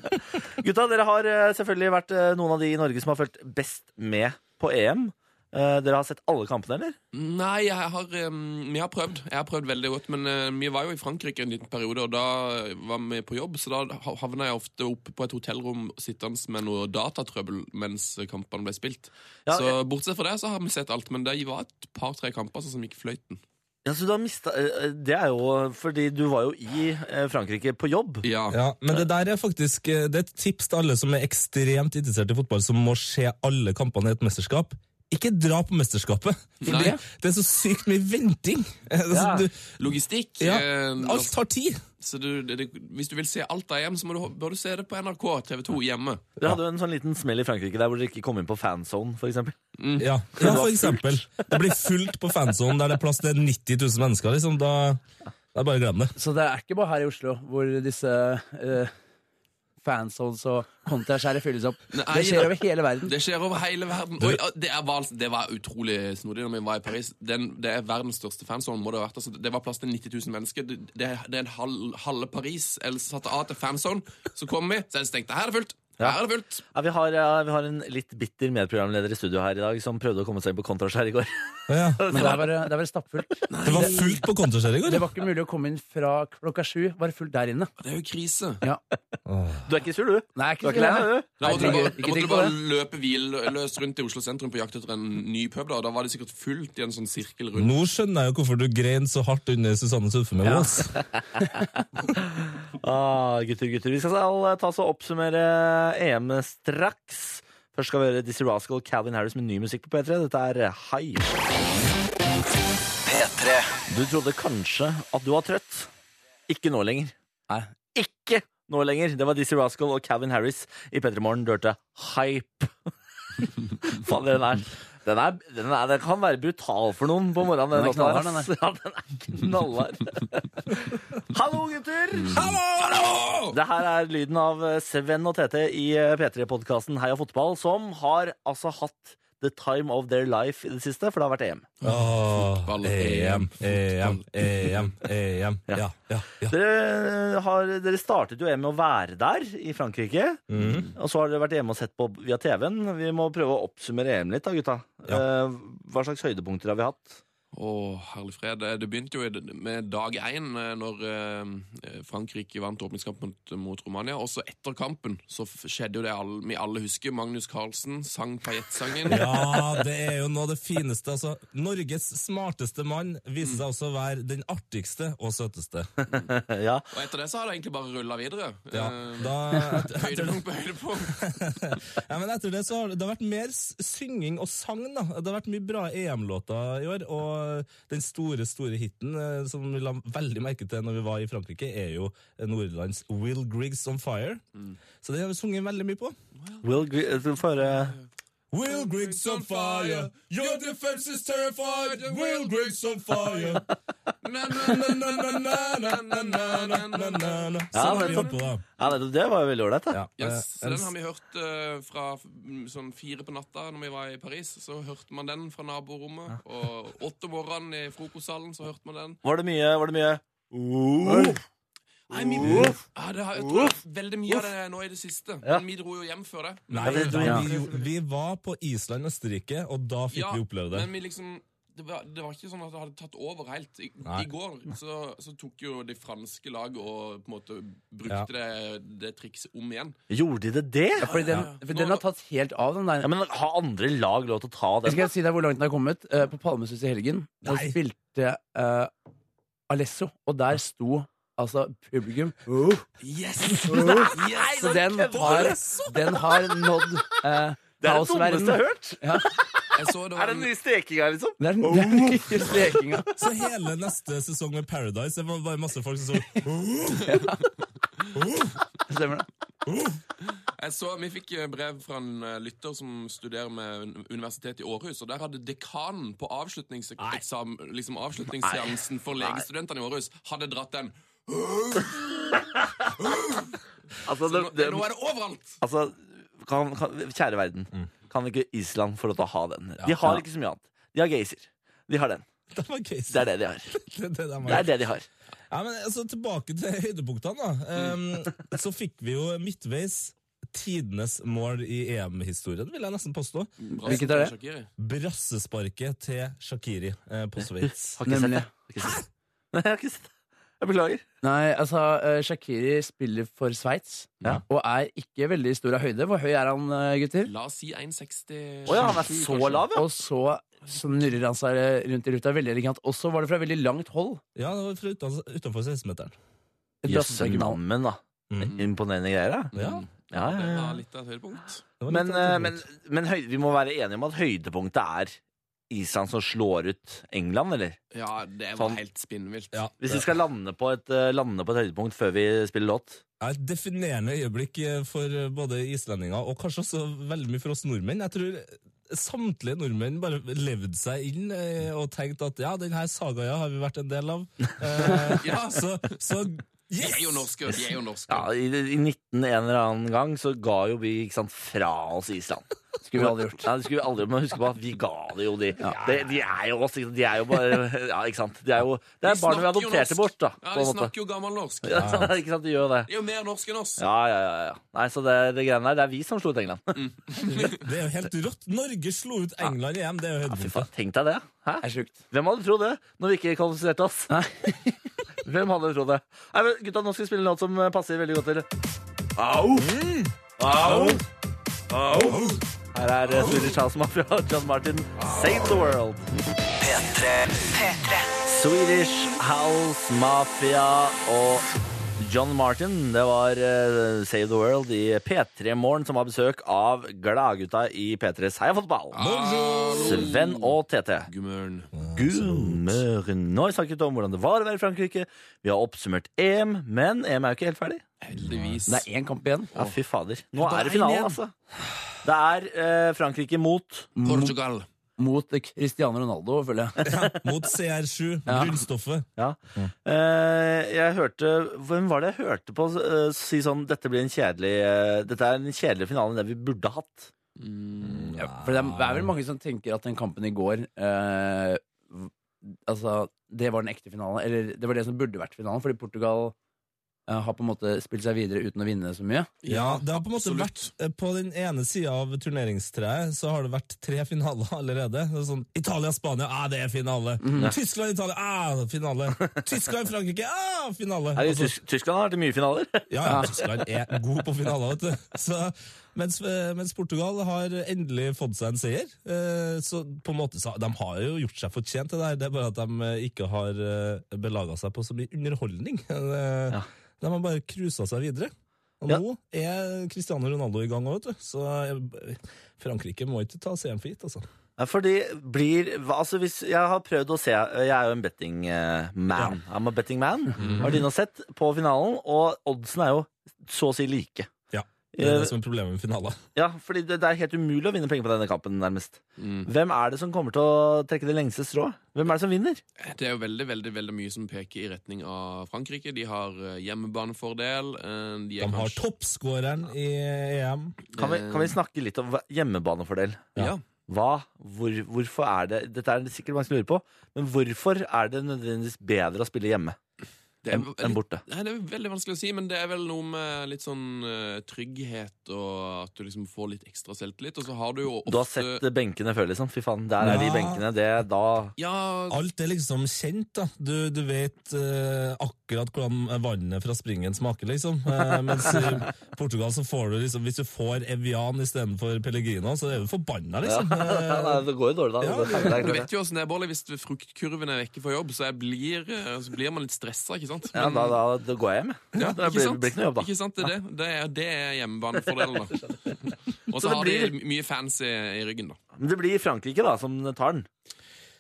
B: Gutta, dere har eh, selvfølgelig vært eh, noen av de i Norge som har fulgt best med på EM. Eh, Dere har sett alle kampene, eller?
D: Nei, jeg har, em, vi har prøvd. Jeg har prøvd veldig godt, men eh, vi var jo i Frankrike en liten periode, og da var vi på jobb, så da ha- havna jeg ofte oppe på et hotellrom sittende med noe datatrøbbel mens kampene ble spilt.
B: Ja,
D: så bortsett fra det så har vi sett alt, men det var et par-tre kamper sånn som gikk fløyten.
B: Ja, så du har mista eh, Det er jo fordi du var jo i eh, Frankrike på jobb.
D: Ja.
E: Ja, men det der er faktisk eh, Det er et tips til alle som er ekstremt interessert i fotball, som må se alle kampene i et mesterskap. Ikke dra på mesterskapet! For
D: Nei.
E: det, det er så sykt mye venting!
B: Ja.
E: Altså, du,
D: Logistikk.
E: ja,
D: eh,
E: alt tar tid!
D: Så du, det, det, hvis du vil se alt av hjem, så må du, bør du se det på NRK TV2 hjemme.
B: Dere hadde jo en sånn liten smell i Frankrike der hvor dere ikke kom inn på fanzone, f.eks.
E: Ja, ja for eksempel. Det blir fullt på fansonen der det er plass til 90 000 mennesker. Liksom. Da, da bare glem det.
A: Så det er ikke bare her i Oslo hvor disse eh, fansones og kontraskjæret fylles opp.
D: Nei,
A: det skjer over hele verden.
D: Det skjer over hele verden. Oi, ja, det, er, vals- det var utrolig snodig når vi var i Paris. Den, det er verdens største fanzone. Må det, ha vært. Altså, det var plass til 90 000 mennesker. Det, det, det er en halv, halve Paris. Eller så satte av til fanzone. Så kom vi, så er det stengt. Her er det fullt! Her er det fullt!
B: Ja, vi, har, ja, vi har en litt bitter medprogramleder i studio her i dag som prøvde å komme seg inn på kontraskjær i går.
E: Ja.
A: Men der var det, der var det stappfullt.
E: Det var fullt på kontorskjæret i går.
A: Det var ikke mulig å komme inn fra klokka sju. Var det fullt der inne?
D: Det er jo krise.
A: Ja.
B: Du er ikke sur, du?
A: Nei,
B: Du
A: ikke
B: er ikke lei
A: så-
B: deg, du?
D: Da måtte du bare,
A: Herregud,
D: da
A: ikke
D: måtte
A: tenk
D: du
A: på
D: bare
A: det.
D: løpe hvilløst rundt i Oslo sentrum på jakt etter en ny pub. Da, da var det sikkert fullt i en sånn sirkel rundt.
E: Nå skjønner jeg jo hvorfor du grein så hardt under Susanne Sundfjord med
A: Ja.
E: Aas.
B: Ah, gutter, gutter. Vi skal så- ta så oppsummere EM straks. Først skal vi høre Dizzie Rascal og Calvin Harris med ny musikk på P3. Dette er High.
C: P3
B: Du trodde kanskje at du var trøtt. Ikke nå lenger.
A: Nei.
B: Ikke nå lenger. Det var Dizzie Rascal og Calvin Harris i P3 Morgen. Du hørte Hype. Faen, den er den, er, den, er, den kan være brutal for noen på morgenen.
A: Den er
B: låta her,
A: knallhard, den
B: ass. Ja, den er knallhard. Hallo, gutter!
D: Hallo! Hallo!
B: Det her er lyden av eh, Sven og Tete i P3-podkasten Heia fotball, som har altså hatt the time of their life i det siste, for det har vært EM.
E: Åh, E
D: Fotball,
E: EM, EM,
D: fotball.
E: EM, EM. Ja, E ja, ja.
B: Dere, eh, har, dere startet jo EM med å være der i Frankrike,
E: Mhm.
B: og så har dere vært hjemme og sett på via TV-en. Vi må prøve å oppsummere EM litt, da, gutta. Eh, Hva slags høydepunkter har vi hatt?
D: Å, herlig fred. Det- Det begynte jo i- med dag én, eh, når eh, Frankrike vant åpningskampen mot- mot Romania. Og så etter kampen så f- skjedde jo det alle, vi alle husker. Magnus Carlsen sang pajettsangen.
E: Ja, det er jo noe av det fineste. Altså, Norges smarteste mann viser seg også å være den artigste og søteste.
B: Eh, ja.
D: Og etter det så har det egentlig bare rulla videre.
E: Ja,
D: Eh,
E: da, etter,
D: Høydepunkt på høydepunkt.
E: ja, men etter det så har det har vært mer s- synging og sang, da. Det har vært mye bra EM-låter i år, og den store, store hiten eh, som vi la veldig merke til når vi var i Frankrike, er jo Nordlands Will Griggs On Fire. Så det har vi sunget veldig mye på.
B: Will Gre- eh, du får høre
E: Will Griggs on fire, your defense is terrified. Will Griggs on fire. Na-na-na-na-na-na-na-na-na-na. Sånn har vi holdt på, da.
B: Ja, nettopp, det var jo veldig ålreit, da.
E: Ja,
D: Yes,
E: eh,
D: så den har vi hørt eh, fra f- m, sånn fire på natta når vi var i Paris. Så hørte man den fra naborommet. Og åtte om morgenen i frokostsalen så hørte man den.
B: Var det mye? Var det mye? Uh.
D: Nei, vi, ja, det har, jeg tror veldig mye av det nå i det siste.
B: Ja.
D: Men vi dro jo hjem før det.
E: Nei,
B: det-
E: da,
B: ja.
E: vi, jo- vi var på Island og Østerrike, og da fikk
D: Ja,
E: vi oppleve det.
D: Men vi liksom det var, det var ikke sånn at det hadde tatt over helt. I,
E: Nei.
D: i går så, så tok jo det franske laget og på en måte
E: Ja.
D: brukte det, det trikset om igjen.
B: Gjorde de det? det?
A: Fordi den, for den har tatt helt av, den der.
B: Ja, men Har andre lag lov til å ta
A: Jeg
B: den?
A: skal si deg hvor langt den har kommet. Eh, På Palmesus i helgen Da
E: Nei.
A: spilte eh, Alesso, og der sto altså publikum oh,
D: Yes!
A: Så den har, den har nådd eh,
B: Det er det dummeste jeg har hørt!
D: Jeg så det
B: Er
D: var
B: det den
D: en,
B: nye strekinga, liksom?
A: Det er den nye strekinga.
E: Så hele neste sesong med Paradise Det var bare masse folk som så
A: Stemmer det?
D: jeg så, vi fikk eh, brev fra en eh, lytter som studerer med un- universitetet i Århus, og der hadde dekanen på avslutningseksamen, liksom avslutningsseansen for legestudentene i Århus, hadde dratt den.
B: Altså,
D: Nå,
B: det, det,
D: nå er det overalt!
B: altså kan, kan, Kjære verden, kan ikke Island få lov til å ha den? De har ikke så mye annet. De har geyser. De har den.
E: Det var gøy.
B: Det er det de har.
E: Det, det, det,
B: Det er det de har.
E: Ja, men altså, Tilbake til høydepunktene. da. Ehm, så fikk vi jo midtveis tidenes mål i EM-historien, vil jeg nesten påstå.
A: Hvilket er det?
D: Shakiri.
E: Brassesparket til Shakiri eh, på Sveits.
B: Har ikke sett
A: Nemlig.
B: det. Har ikke sett det. Nei, jeg har ikke sett det. Jeg beklager.
A: Nei, altså eh, Shakiri spiller for Sveits,
B: Ja.
A: og er ikke veldig stor av høyde. Hvor høy er han, eh, gutter?
D: La oss si 1,60
B: Å ja, han er så lav, ja.
A: Og så snurrer han seg rundt i ruta veldig elegant. Og så var det fra veldig langt hold.
E: Ja, det var fra utan, utenfor 16-meteren.
A: Et brassespark i mål.
B: Jøssenammen, da.
E: Mm.
B: Imponerende greier, da.
E: Ja,
B: Ja, ja,
D: Det
B: ja.
D: var litt av et høydepunkt.
E: det var litt
B: Men,
E: av et
B: eh, men,
E: høydepunkt.
B: men høy, vi må være enige om at høydepunktet er Island som slår ut England, eller?
D: Ja, det var
B: Sånn.
D: helt spinnvilt.
E: ja,
B: Hvis vi skal lande på et, eh, lande på et høydepunkt før vi spiller låt.
E: Ja, Et definerende øyeblikk eh, for eh, både islendinger og kanskje også veldig mye for oss nordmenn. Jeg tror samtlige nordmenn bare levde seg inn eh, og tenkte at ja, denne sagaen har vi vært en del av. Eh, ja, så, så
D: De
E: yes!
D: er jo norske, de er jo norske.
B: Ja, i, I 19 en eller annen gang så ga jo vi ikke sant, fra oss Island.
A: Skulle vi aldri gjort.
B: Ja, det skulle vi aldri Men husk på at vi ga det jo, de. De, de er jo oss, ikke sant. De er jo bare Ja, ikke sant. De er jo, det er barna vi
D: De snakker jo norsk.
B: adopterte bort, da.
D: Ja,
B: På
D: de
B: en måte.
D: snakker jo gammelnorsk.
B: Ja, ikke sant, de gjør det.
D: De er jo mer norske enn oss.
B: Ja, ja, ja. ja. Nei, så det, det greiene der, det er vi som slo ut England.
A: Mm.
E: Det er jo helt rått. Norge slo ut England i EM. Det er jo
B: Fy
E: høydepunktet.
B: faen, tenk deg det. Hæ?
A: Det er sjukt.
B: Hvem hadde trodd det, når vi ikke kvalifiserte oss? Hvem hadde trodd det? Nei, men gutta, Nå skal vi spille en låt som eh, passer veldig godt til Au! Au! Au! Her er eh, Swedish House Mafia og John Martin. Save the world! Swedish House Mafia og John Martin. Det var eh, Save the World i P3 Morgen som har besøk av gladgutta i P3s Heia Fotball. Sven og TT.
D: Gummørn.
B: Mm. Gummeren. Nå har vi snakket om hvordan det var å være i Frankrike. Vi har oppsummert EM, men EM er jo ikke helt ferdig.
D: Heldigvis.
A: Det er én kamp igjen.
B: Ja, fy fader. Nå
A: Bare
B: er det finalen,
A: en igjen.
B: altså. Det er eh, Frankrike mot
D: Portugal.
A: Mot Cristiano Ronaldo, føler jeg.
E: Mot CR7, grunnstoffet.
B: Ja. Eh, jeg hørte Hvem var det jeg hørte på eh, si sånn Dette blir en kjedelig eh, Dette er en kjedeligere finale enn det vi burde hatt.
A: Ja, For det er, det er vel mange som tenker at den kampen i går eh, v- Altså, det var den ekte finalen. Eller det var det som burde vært finalen, fordi Portugal eh, har på en måte spilt seg videre uten å vinne så mye.
E: Ja, det har på en måte vært
D: absolutt.
E: eh, På den ene sida av turneringstreet så har det vært tre finaler allerede. Det er Sånn, Italia-Spania, ah, det er finale! Tyskland-Italia, ah, finale! Tyskland-Frankrike, ah, finale!
B: Er det,
E: Altså,
B: Tysk Tyskland har vært i mye finaler.
E: ja, ja, Tyskland er god på finaler, vet du. Så, mens, eh, mens Portugal har endelig fått seg en seier. eh, Så på en måte, så, De har jo gjort seg fortjent til det her, det er bare at de eh, ikke har eh, belaga seg på så mye underholdning. Eh,
B: Ja.
E: De har bare cruisa seg videre. Og
B: Ja.
E: nå er Cristiano Ronaldo i gang òg, vet du. Så eh, Frankrike må ikke ta seieren for gitt, altså.
B: Ja, Fordi blir hva- Altså hvis Jeg har prøvd å se Jeg er jo en betting eh, man. I'm a betting man.
E: Mhm.
B: Har dine sett på finalen, og oddsen er jo så å si like.
E: Ja, Det er
B: Eh,
E: det som er problemet med finaler.
B: Ja, fordi det, det er helt umulig å vinne penger på denne kampen, nærmest.
D: Mm.
B: Hvem er det som kommer til å trekke det lengste strået? Hvem er det som vinner?
D: Det er jo veldig veldig, veldig mye som peker i retning av Frankrike. De har eh, hjemmebanefordel. eh, De
E: De
D: er
E: har
D: kanskje
E: toppskåreren i E EM.
B: Kan
D: Eh.
B: vi, kan vi snakke litt om hva- hjemmebanefordel?
D: Ja.
B: Hva? Hvor, hvorfor er det Dette er det sikkert mange som lurer på, men hvorfor er det nødvendigvis bedre å spille hjemme?
D: Det er
B: enn enn borte.
D: Nei, Det er veldig vanskelig å si, men det er vel noe med litt sånn eh, trygghet og at du liksom får litt ekstra selvtillit. Og så har du jo ofte
B: Du har sett benkene før, liksom? Fy faen, der er de
E: Ja.
B: benkene. Det, da
D: Ja,
E: Alt er liksom kjent, da. Du, du vet eh, akkurat hvordan vannet fra springen smaker, liksom. Eh, mens i Portugal så får du liksom Hvis du får Evian istedenfor Pellegrino, så er du forbanna, liksom. Eh,
B: Nei, Det går jo dårlig, da.
E: Ja.
B: Det er
D: du
B: klart det.
D: vet jo åssen det er, Bårli. Hvis fruktkurven er vekke fra jobb, så, jeg blir, eh, så blir man litt stressa, ikke sant?
B: Ja, da, da, da går jeg hjem. jeg.
D: Ja,
B: det
D: ikke
B: blir,
D: sant?
B: blir ikke noe jobb, da.
D: Ikke sant, det er det. Det er, det er hjemmebanefordelen, da.
B: Så
D: Og så
B: det
D: har de
B: blir-
D: mye fans i, i ryggen, da.
B: Men det blir Frankrike, da, som tar den.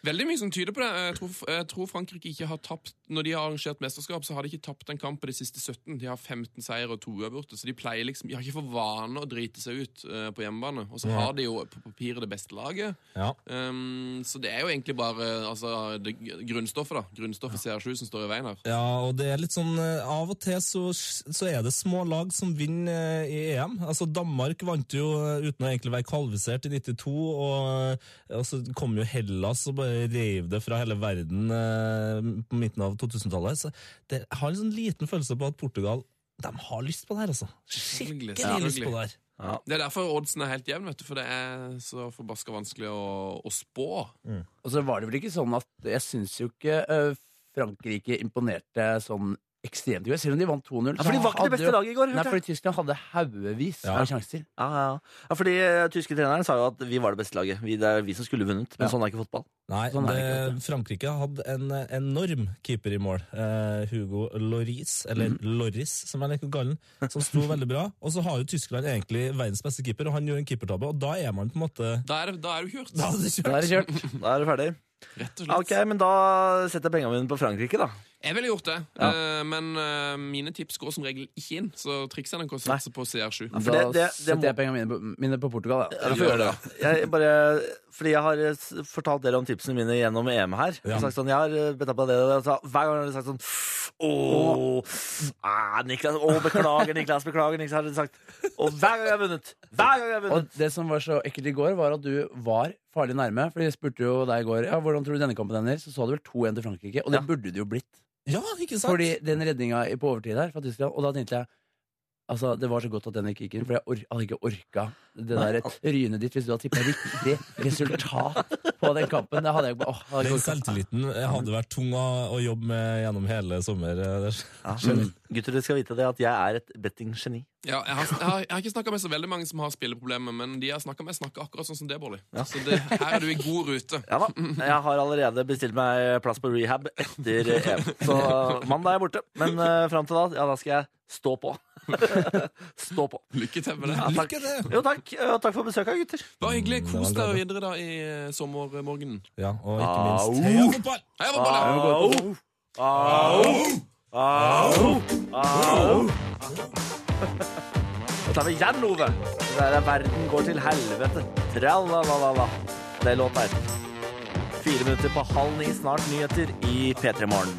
D: Veldig mye som tyder på det. Jeg tror, jeg tror Frankrike ikke har tapt Når de har arrangert mesterskap, så har de ikke tapt en kamp på de siste 17. De har 15 seier og to uavgjorte, så de pleier liksom De har ikke for vane å drite seg ut eh, på hjemmebane. Og så har de jo på papiret det beste laget.
E: ja.
D: Um, så det er jo egentlig bare altså, det, grunnstoffet, da. Grunnstoffet CR7 som står i veien her.
E: Ja, og det er litt sånn eh, Av og til så, så er det små lag som vinner eh, i EM. Altså Danmark vant jo eh, uten å egentlig være kvalifisert i 92, og, eh, og så kom jo Hellas og bare reiv det fra hele verden eh, på midten av 2000-tallet. Så det jeg har en sånn liten følelse på at Portugal de har lyst på det her, altså.
D: Selvfølgelig,
E: Skikkelig lyst på det her.
D: Det er derfor oddsen er helt jevn, vet du, for det er så forbaska vanskelig å, å spå.
A: Og så var det vel ikke sånn at Jeg syns jo ikke eh, Frankrike imponerte sånn ekstremt godt. Selv om de vant 2-0.
B: Ja, for de var ikke det beste laget i går.
A: Nei,
B: hørte jeg.
A: fordi Tyskland hadde haugevis
E: Ja.
A: av sjanser.
B: Ja, ja, ja. ja, fordi eh, tyske treneren sa jo at vi var det beste laget. Vi, det er vi som skulle vunnet. Men
A: Ja.
B: sånn er ikke fotball.
E: Nei,
A: Sånn er
E: det,
A: det ikke,
E: Frankrike hadde en eh, enorm keeper i mål. Eh, Hugo Loris, eller
A: Mhm.
E: Loris, som jeg liker å kalle han, som sto veldig bra. Og så har jo Tyskland egentlig verdens beste keeper, og han gjør en keepertabbe, og da er man på en måte
D: Da er det, da er det kjørt,
E: Da er det
A: Da
E: kjørt.
A: er det kjørt.
B: Da er du ferdig.
D: rett og
B: Ja,
D: slett.
B: Ok, men da setter jeg penga mine på Frankrike, da.
D: Jeg ville gjort det,
B: Ja.
D: eh, men eh, mine tips går som regel ikke inn, så trikset er nok å satse på CR7.
B: for
A: Da
B: det- det- det må-
A: setter jeg pengene mine, på- mine på Portugal. Ja.
D: Gjør det.
B: Jeg bare, fordi jeg har eh, s- fortalt dere om tipsene mine gjennom EM her. Jeg
E: Ja.
B: har sagt sånn, jeg har eh, bedt på det, og det, og så hver gang har dere sagt sånn Åh, ah, Niklas, åh, beklager, Niklas, beklager, Niklas, har dere sagt. Og hver gang jeg har vunnet! Hver gang jeg har
A: Og
B: vunnet!
A: det som var så ekkelt i går, var at du var farlig nærme. For jeg spurte jo deg i går ja, hvordan tror du denne kampen ender. Så så du vel 2-1 til Frankrike, og det
B: Ja.
A: burde det jo blitt.
E: Ja, ikke sant?
A: Fordi den redninga i- på overtid her fra Tyskland, og da tenkte jeg Altså, Det var så godt at den ikke gikk inn, for jeg or hadde ikke orka det der trynet ditt hvis du hadde tippa riktig resultat på den kampen. Det hadde jeg bare, åh, hadde
E: Den
A: ikke orket.
E: selvtilliten hadde vært tung å, å jobbe med gjennom hele sommer. eh, det-
B: Ja, men gutter, dere skal vite det at jeg er et bettinggeni.
D: Ja, jeg, har, jeg, har, jeg har ikke snakka med så veldig mange som har spilleproblemer, men de jeg har snakka med, snakker akkurat sånn som det, Bårli. Så det, her er du i god rute.
B: Ja da. Jeg har allerede bestilt meg plass på rehab etter eh, EM. Så eh, mandag er jeg borte. Men uh, fram til da, ja, da skal jeg stå på. stå på.
D: Lykke til med det.
B: Ja, takk.
E: Lykke til!
B: Jo, takk. Og takk for besøket, gutter.
D: Bare hyggelig. Kos
E: Ja,
D: deg videre da i eh, sommermorgenen.
E: Ja,
B: Au.
E: og ikke minst Heia fotball!
D: Hei, Bårli!
B: Au! Au! Au! Au! Da tar vi igjen, Ove. Der er verden går til helvete. Tralalala. Det er låt der. Fire minutter på halv ni, snart nyheter i P3 Morgen.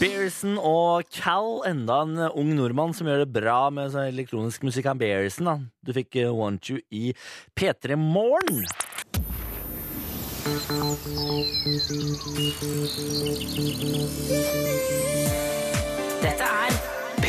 B: Bearson og Cal, enda en ung nordmann som gjør det bra med sånn elektronisk musikk. Han Bearson, da. Du fikk eh, Want You i P3 Morgen.
C: Dette er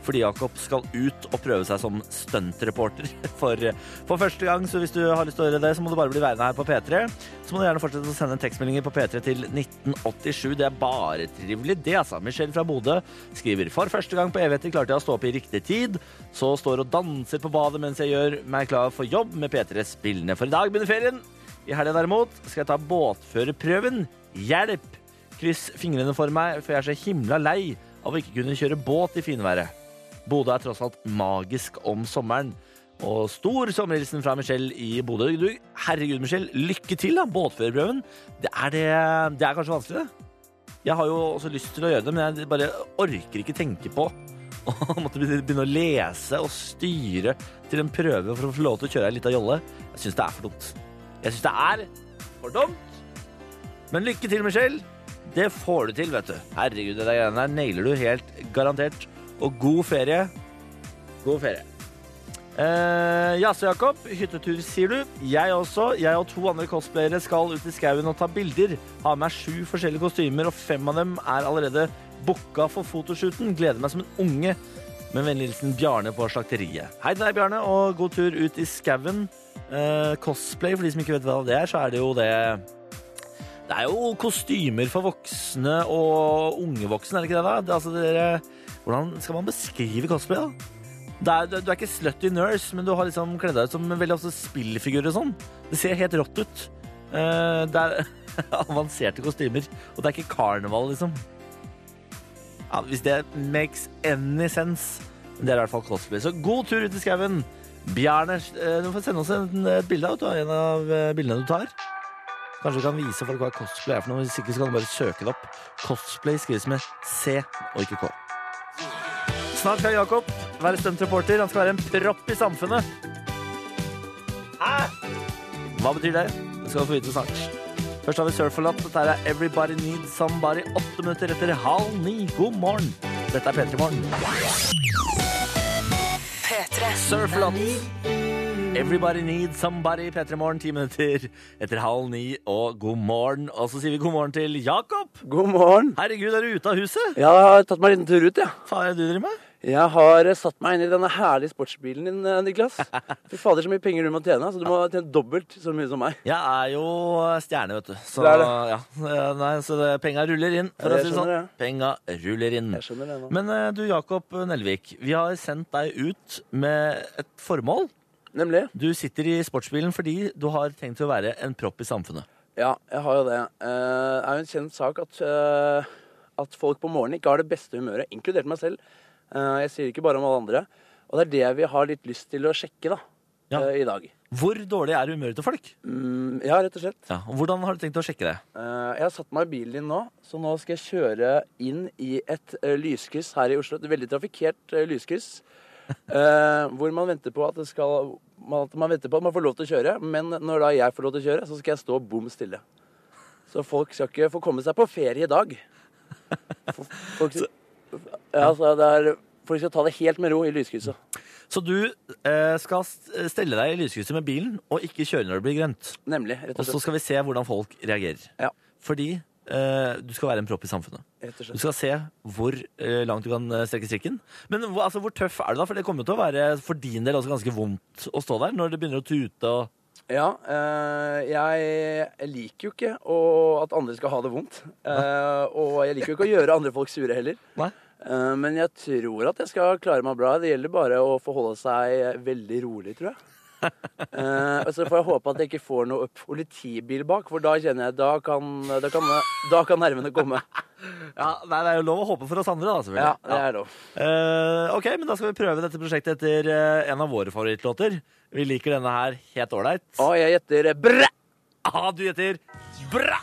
B: Fordi Jakob skal ut og prøve seg som stuntreporter for, eh, for første gang. Så hvis du har lyst til å gjøre det, så må du bare bli værende her på P3. Så må du gjerne fortsette å sende tekstmeldinger på P3 til 1987. Det er bare trivelig, det, altså. Michelle fra Bodø skriver for første gang på evigheter klarte jeg å stå opp i riktig tid. Så står og danser på badet mens jeg gjør meg klar for jobb med P3 Spillene. For i dag begynner ferien. I helga derimot skal jeg ta båtførerprøven. Hjelp! Kryss fingrene for meg, for jeg er så himla lei av å ikke kunne kjøre båt i finværet. Bodø er tross alt magisk om sommeren. Og stor sommerhilsen fra Michelle i Bodø. Du, herregud, Michelle, lykke til, da! Båtførerprøven. Det er, det, det er kanskje vanskelig, det. Jeg har jo også lyst til å gjøre det, men jeg bare orker ikke tenke på å måtte begynne å lese og styre til en prøve for å få lov til å kjøre ei lita jolle. Jeg syns det er for dumt. Jeg syns det er for dumt. Men lykke til, Michelle. Det får du til, vet du. Herregud, det der greiene der nailer du helt garantert. Og god ferie. God ferie. Eh, Jasse Jakob, hyttetur sier du. Jeg også. Jeg og to andre cosplayere skal ut i skauen og ta bilder. Har med meg sju forskjellige kostymer, og fem av dem er allerede booka for fotoshooten. Gleder meg som en unge. Med vennlig hilsen Bjarne på Slakteriet. Hei til deg, Bjarne, og god tur ut i skauen. Eh, cosplay, for de som ikke vet hva det er, så er det jo det det er jo kostymer for voksne og unge voksne, er det ikke det? da? Det, altså, det der- hvordan skal man beskrive cosplay, da? Det er, du- du er ikke slutty nurse, men du har liksom kledd deg ut som veldig ofte spillfigurer og sånn. Det ser helt rått ut. Eh, det er avanserte kostymer, og det er ikke karneval, liksom. Ja, hvis det makes any sense. Det er i hvert fall cosplay. Så god tur ut i skauen. Bjarne, eh, du får sende oss en, et bilde av en av eh, bildene du tar. Kanskje du kan vise folk hva cosplay er for noe. Hvis ikke så kan du bare søke det opp. Cosplay skrives med C og ikke K. Snart skal Jakob være stuntreporter. Han skal være en propp i samfunnet. Hæ? Hva betyr det? Det skal du få vite snart. Først har vi Surferlot. Dette her er Everybody Needs Somebody. Åtte minutter etter halv ni. God morgen. Dette er P3 Morgen.
F: P3.
B: Surflot. Everybody needs somebody. P3 Morgen, ti minutter etter halv ni, og god morgen. Og så sier vi god morgen til Jakob.
G: God morgen.
B: Herregud, er du ute av huset?
G: Jeg har tatt meg en liten tur ut, jeg. Ja.
B: Faen, er det du driver med?
G: Jeg har eh, satt meg inn i denne herlige sportsbilen din, eh, Niklas. Fy fader, så mye penger du må tjene. Så du må tjene dobbelt så mye som meg.
B: Jeg er jo stjerne, vet du. Så,
G: Det er det.
B: Ja. Eh, Nei, så det, penga ruller inn, for å
G: Ja, jeg
B: si det
G: skjønner
B: sånn.
G: det.
B: Penga ruller inn.
G: Jeg skjønner det nå.
B: Men eh, du, Jakob Nelvik, vi har sendt deg ut med et formål.
G: Nemlig.
B: Du sitter i sportsbilen fordi du har tenkt å være en propp i samfunnet.
G: Ja, jeg har jo det. Eh, Det er jo en kjent sak at, eh, at folk på morgenen ikke har det beste humøret, inkludert meg selv. Eh, Jeg sier ikke bare om alle andre. Og det er det vi har litt lyst til å sjekke da,
B: Ja.
G: eh, i dag.
B: Hvor dårlig er humøret til folk?
G: Mm, Ja, rett og slett.
B: Ja, og Hvordan har du tenkt å sjekke det?
G: Eh, Jeg har satt meg i bilen din nå, så nå skal jeg kjøre inn i et eh, lyskryss her i Oslo. Et veldig trafikkert eh, lyskryss. eh, hvor man venter på at det skal man- at man venter på at man får lov til å kjøre, men når da jeg får lov til å kjøre, så skal jeg stå bom stille. Så folk skal ikke få komme seg på ferie i dag. F- Folk, ja, så det er, folk skal ta det helt med ro i lyskrysset.
B: Så du eh, skal st- stelle deg i lyskrysset med bilen og ikke kjøre når det blir grønt.
G: Nemlig. Rett og
B: Og så
G: slett.
B: skal vi se hvordan folk reagerer.
G: Ja,
B: Fordi eh, du skal være en propp i samfunnet.
G: rett og
B: Du
G: slett.
B: skal se hvor eh, langt du kan eh, strekke strikken. Men hvor- altså, hvor tøff er du da? For det kommer jo til å være for din del også ganske vondt å stå der når det begynner å tute. og...
G: Ja, eh, jeg liker jo ikke å, at andre skal ha det vondt. Eh, og jeg liker jo ikke å gjøre andre folk sure heller.
B: Nei.
G: Eh, men jeg tror at jeg skal klare meg bra. Det gjelder bare å forholde seg veldig rolig, tror jeg. Eh, og så får jeg håpe at jeg ikke får noe politibil bak, for da kjenner jeg Da kan, da kan, da kan nervene komme.
B: Ja, nei, Det er jo lov å håpe for oss andre, da.
G: Ja,
B: selvfølgelig.
G: det er lov.
B: Eh, ok, men da skal vi prøve dette prosjektet etter eh, en av våre favorittlåter. Vi liker denne her helt ålreit.
G: Og jeg gjetter bræ!
B: Ah, du gjetter bra!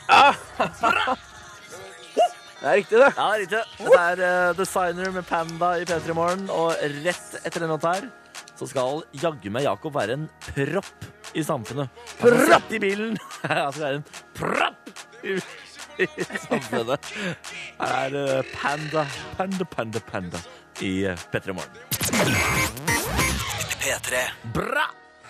G: Det er riktig, det.
B: Ja, riktig. Dette er eh, Designer med Panda i P3 Morgen. Og rett etter den låta her så skal jaggu meg Jakob være en propp i samfunnet. Propp i bilen! Han skal være en propp i, i samfunnet. Her er eh, Panda, Panda, Panda, Panda i eh, P3 Morgen.
H: P3
B: Bra!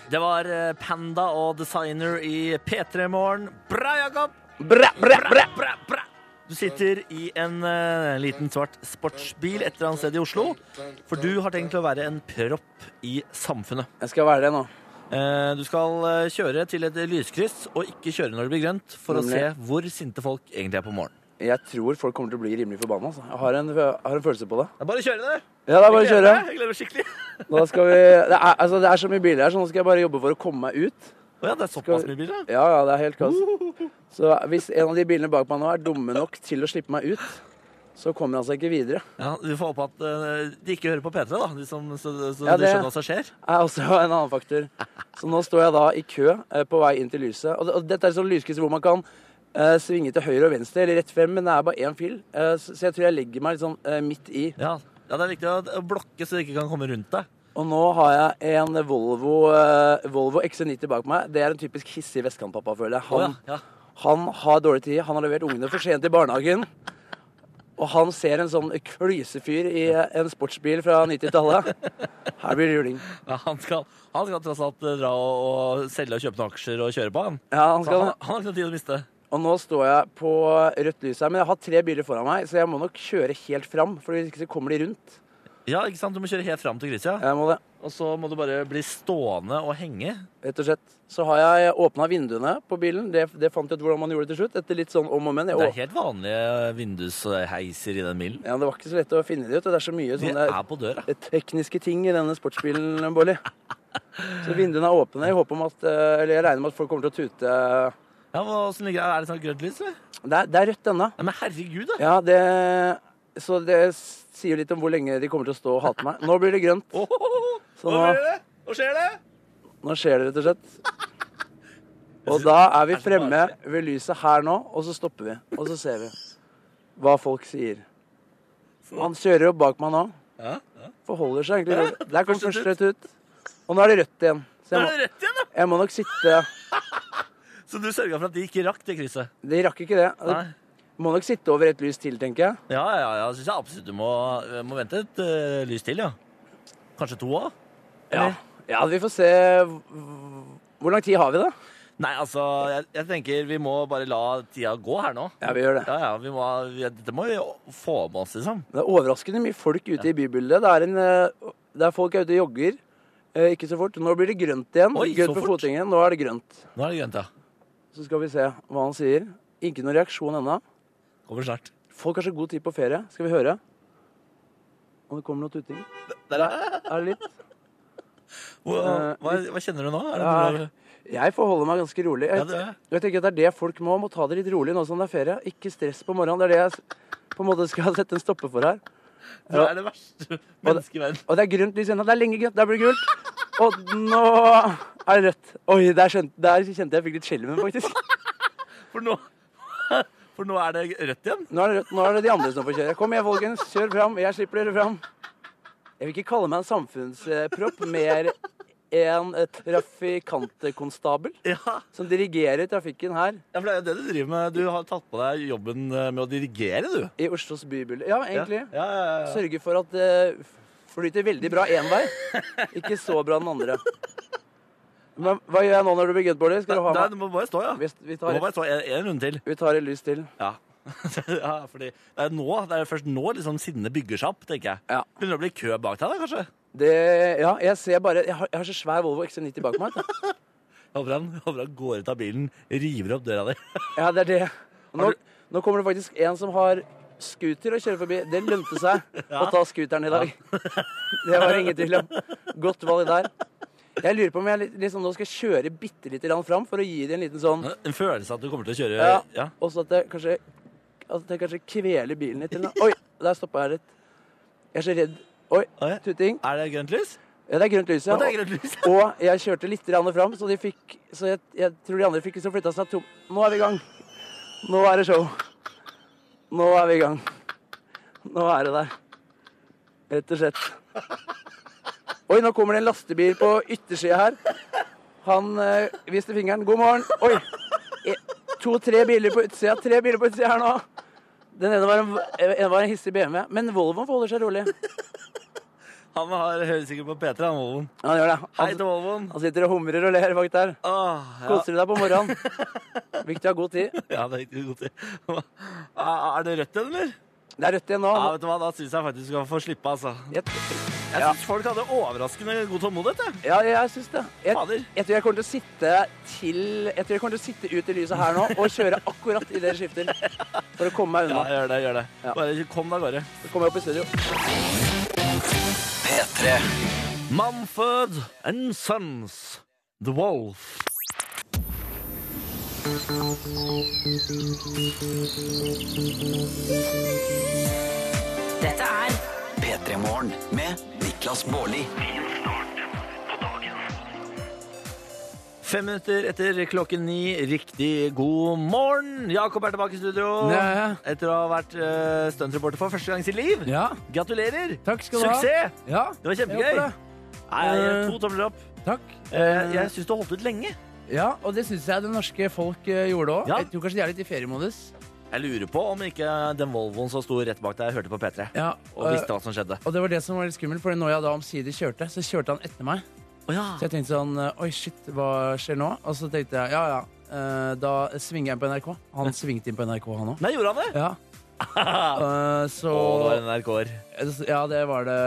B: Det var eh, Panda og Designer i P3 Morgen. Bra, Jakob!
G: Bræ, bræ, bræ.
B: Du sitter i en eh, liten svart sportsbil et eller annet sted i Oslo. For du har tenkt å være en propp i samfunnet.
G: Jeg skal være det nå.
B: Eh, du skal eh, kjøre til et lyskryss og ikke kjøre når det blir grønt, for å se
G: Nemlig.
B: hvor sinte folk egentlig er på morgenen.
G: Jeg tror folk kommer til å bli rimelig forbanna. altså. Jeg har en, jeg har en følelse på det.
B: Det er bare å kjøre det!
G: Ja, det er bare å kjøre.
B: Jeg gleder meg skikkelig.
G: Nå skal vi, det, er, altså, det er så mye biler her, så nå skal jeg bare jobbe for å komme meg ut.
B: Å ja, det er såpass mye biler, ja.
G: Ja, ja, det er helt kaos. Så hvis en av de bilene bak meg nå er dumme nok til å slippe meg ut, så kommer han seg ikke videre.
B: ja. Du får håpe at eh, de ikke hører på P3, da, de som, så, så
G: Ja,
B: de
G: det-
B: skjønner hva som skjer.
G: Det er også en annen faktor. Så nå står jeg da i kø eh, på vei inn til lyset. Og, det- og dette er sånn lyskryss hvor man kan eh, svinge til høyre og venstre, eller rett frem, men det er bare én fil. Eh, så, så jeg tror jeg legger meg litt sånn eh, midt i.
B: Ja. ja, det er viktig å- å blokke så de ikke kan komme rundt deg.
G: Og nå har jeg en Volvo, eh, Volvo XC90 bak meg. Det er en typisk hissig vestkantpappa, føler jeg.
B: Å,
G: Han,
B: ja. Ja.
G: Han har dårlig tid, han har levert ungene for sent i barnehagen. Og han ser en sånn klysefyr i en sportsbil fra 90-tallet. Her blir det juling.
B: Ja, han, skal, han skal tross alt eh, dra og, og selge og kjøpe noen aksjer og kjøre på, han.
G: Ja, han
B: Så han,
G: skal...
B: han har ikke noe tid å miste.
G: Og nå står jeg på rødt lys her, men jeg har tre biler foran meg, så jeg må nok kjøre helt fram, for hvis ikke så kommer de rundt.
B: Ja, ikke sant? Du må kjøre helt fram til Grisia,
G: Jeg må det.
B: og så må du bare bli stående og henge.
G: Rett og slett. Så har jeg åpna vinduene på bilen. Det, det fant jeg ut hvordan man gjorde til slutt. Etter litt sånn om og men. Jeg
B: Det er
G: åp-
B: helt vanlige vindusheiser i den bilen.
G: Ja, det var ikke så lett å finne de ut. og Det er så mye sånn
B: De
G: sånne
B: er på døra.
G: tekniske ting i denne sportsbilen, Bolli. Så vinduene er åpne. Jeg håper om at, eh, eller jeg regner med at folk kommer til å tute.
B: Ja, men hvordan ligger det? Er det sånn grønt lys, eller?
G: Det er, det er rødt ennå.
B: Nei, men herregud, da!
G: Ja, det Så det sier litt om hvor lenge de kommer til å stå og hate meg. Nå blir det grønt.
B: Åhåhå!
G: Så
B: Hva
G: nå-
B: skjer det? Hva skjer det?
G: Nå skjer det, rett og slett. Og da er vi fremme ved lyset her nå, og så stopper vi. Og så ser vi hva folk sier. Han kjører jo bak meg nå. Forholder seg egentlig rolig. Der kom første rødt ut. Og nå er det rødt igjen.
B: Nå
G: Så
B: er
G: jeg må,
B: det rett igjen, da!
G: jeg må nok sitte
B: Så du sørga for at de ikke rakk det krysset?
G: De rakk ikke det.
B: Nei.
G: Må nok sitte over et lys til, tenker jeg.
B: Ja, ja, ja. Syns jeg absolutt du må, må vente et eh, lys til, ja. Kanskje to òg?
G: Ja, ja vi får se Hvor lang tid har vi, da?
B: Nei, altså, jeg, jeg tenker vi må bare la tida gå her nå.
G: Ja, vi gjør det.
B: Ja, ja, vi må, vi, dette må vi jo få med oss, liksom.
G: Det er overraskende mye folk ute i bybildet. Det er, en, eh, det er folk er ute og jogger. Eh, Ikke så fort. Nå blir det grønt igjen.
B: Oi,
G: grønt
B: så
G: på
B: fort.
G: fotgjengen. Nå er det grønt.
B: Nå er det grønt, ja.
G: Så skal vi se hva han sier. Ikke noen reaksjon ennå.
B: Kommer snart.
G: Folk har så god tid på ferie. Skal vi høre? Om det kommer noe tuting?
B: Der, ja.
G: Er det litt?
B: Hva,
G: Eh,
B: hva, hva kjenner du nå? Er det
G: Ja,
B: noe-
G: jeg forholder meg ganske rolig.
B: Ja,
G: Jeg,
B: det er.
G: jeg tenker at det er det folk må. Må ta det litt rolig nå som det er ferie. Ikke stress på morgenen. Det er det jeg s- på en måte skal sette en stopper for her.
B: Du er det verste mennesket i verden.
G: Og det er grønt lys ennå. Det er lenge grønt. Der blir det gult. Og nå er det rødt. Oi, der skjønte, der kjente jeg fikk litt skjelven, faktisk.
B: For nå, for nå er det rødt igjen.
G: Nå er det rødt. Nå er det de andre som får kjøre. Kom igjen, folkens. Kjør fram. Jeg slipper dere fram. Jeg vil ikke kalle meg en samfunnspropp, mer en eh, trafikantkonstabel
B: Ja,
G: som dirigerer trafikken her
B: ja, for det er jo det du driver med. Du har tatt på deg jobben eh, med å dirigere, du.
G: i Oslos bybilde. Ja, egentlig.
B: Ja, ja, ja, ja.
G: Sørge for at det flyter veldig bra én vei, ikke så bra den andre. Men hva gjør jeg nå når du blir gutboller? Skal du ha
B: Nei,
G: meg?
B: du må bare stå, ja.
G: Vi, vi
B: Du
G: tar
B: må bare stå en, en runde til.
G: Vi tar et lys til.
B: Ja. ja, fordi det er nå, det er først nå liksom sinnet bygger seg opp, tenker jeg.
G: Ja.
B: Begynner det å bli kø bak deg, da, kanskje?
G: Det, ja, jeg ser bare Jeg har, jeg har så svær Volvo XC90 bak meg. vet du.
B: Jeg Håper han, jeg håper han går ut av bilen, river opp døra di.
G: Ja, det er det. Og Nå, nå kommer det faktisk en som har scooter og kjører forbi. Det lønte seg å ta scooteren i dag. Det var ingen tvil om. Godt valg der. Jeg lurer på om jeg litt- liksom nå skal kjøre bitte lite grann fram for å gi det en liten sånn
B: En følelse at du kommer til å kjøre
G: ja,
B: Eh, ja.
G: Og så at jeg kanskje At jeg kanskje kveler bilen litt. Eller noe. Oi, der stoppa jeg litt. Jeg er så redd. Oi,
B: Oi.
G: tuting.
B: Er det grønt lys?
G: Ja, det er grønt lys, ja.
B: Å, det er grønt lys.
G: Og jeg kjørte litt grann fram, så, de fikk, så jeg, jeg tror de andre fikk liksom flytta seg tom. Nå er vi i gang. Nå er det show. Nå er vi i gang. Nå er det der. Rett og slett. Oi, nå kommer det en lastebil på yttersida her. Han eh, viste fingeren. God morgen. Oi. To-tre biler på utsida. Tre biler på utsida her nå. Den ene var en, eh, en, var en hissig BMW. Men Volvoen forholder seg rolig.
B: Han har, hører sikkert på P3, han Volvoen.
G: Han gjør det.
B: Hei
G: Han,
B: til Volvoen.
G: han sitter og humrer og ler bak der.
B: Åh, ja.
G: Koser du deg på morgenen? Viktig å ha god tid.
B: ja, det er riktig god tid. Ah, Er det rødt igjen, eller?
G: Det er rødt igjen nå.
B: Ja, vet du hva, Da syns jeg faktisk du skal få slippe, altså.
G: Jeg,
B: Jeg
G: Ja.
B: syns folk hadde overraskende god tålmodighet. jeg.
G: ja, jeg syns det. Jeg,
B: Fader.
G: jeg tror jeg kommer til å sitte til Jeg tror jeg kommer til å sitte ut i lyset her nå og kjøre akkurat idet det skifter. For å komme meg
B: Ja,
G: unna.
B: gjør det. gjør det.
G: Ja.
B: Bare kom deg av gårde.
G: Så kommer jeg opp i studio.
I: P3
B: Mumford and Sons, The Wolf.
I: Dette er P3 Morgen med Niklas Baarli.
B: Fem minutter etter klokken ni. Riktig god morgen! Jakob er tilbake i studio
G: Ja, ja.
B: etter å ha vært eh, stuntreporter for første gang i sitt liv.
G: Ja,
B: Gratulerer!
G: Takk skal du ha.
B: Suksess!
G: ja.
B: Det var
G: Jeg
B: kjempegøy.
G: håper det.
B: Nei,
G: Eh,
B: to tomler opp.
G: Takk.
B: Eh, jeg syns du holdt ut lenge.
G: Ja, og det syns jeg det norske folk eh, gjorde òg.
B: Ja.
G: Jeg tror kanskje de er litt i feriemodus.
B: Jeg lurer på om ikke den Volvoen som sto rett bak deg, hørte på P3
G: Ja, eh,
B: og visste hva som skjedde.
G: Og det var det som var litt skummelt, for når jeg da omsider kjørte, så kjørte han etter meg.
B: Å ja.
G: Så jeg tenkte sånn Oi, shit, hva skjer nå? Og så tenkte jeg ja, ja. eh, Da svinger jeg inn på NRK. Han svingte inn på NRK, han òg.
B: Nei, gjorde han det?
G: Ja. Eh, så
B: Å, det var NRK-er.
G: Ja, det var det.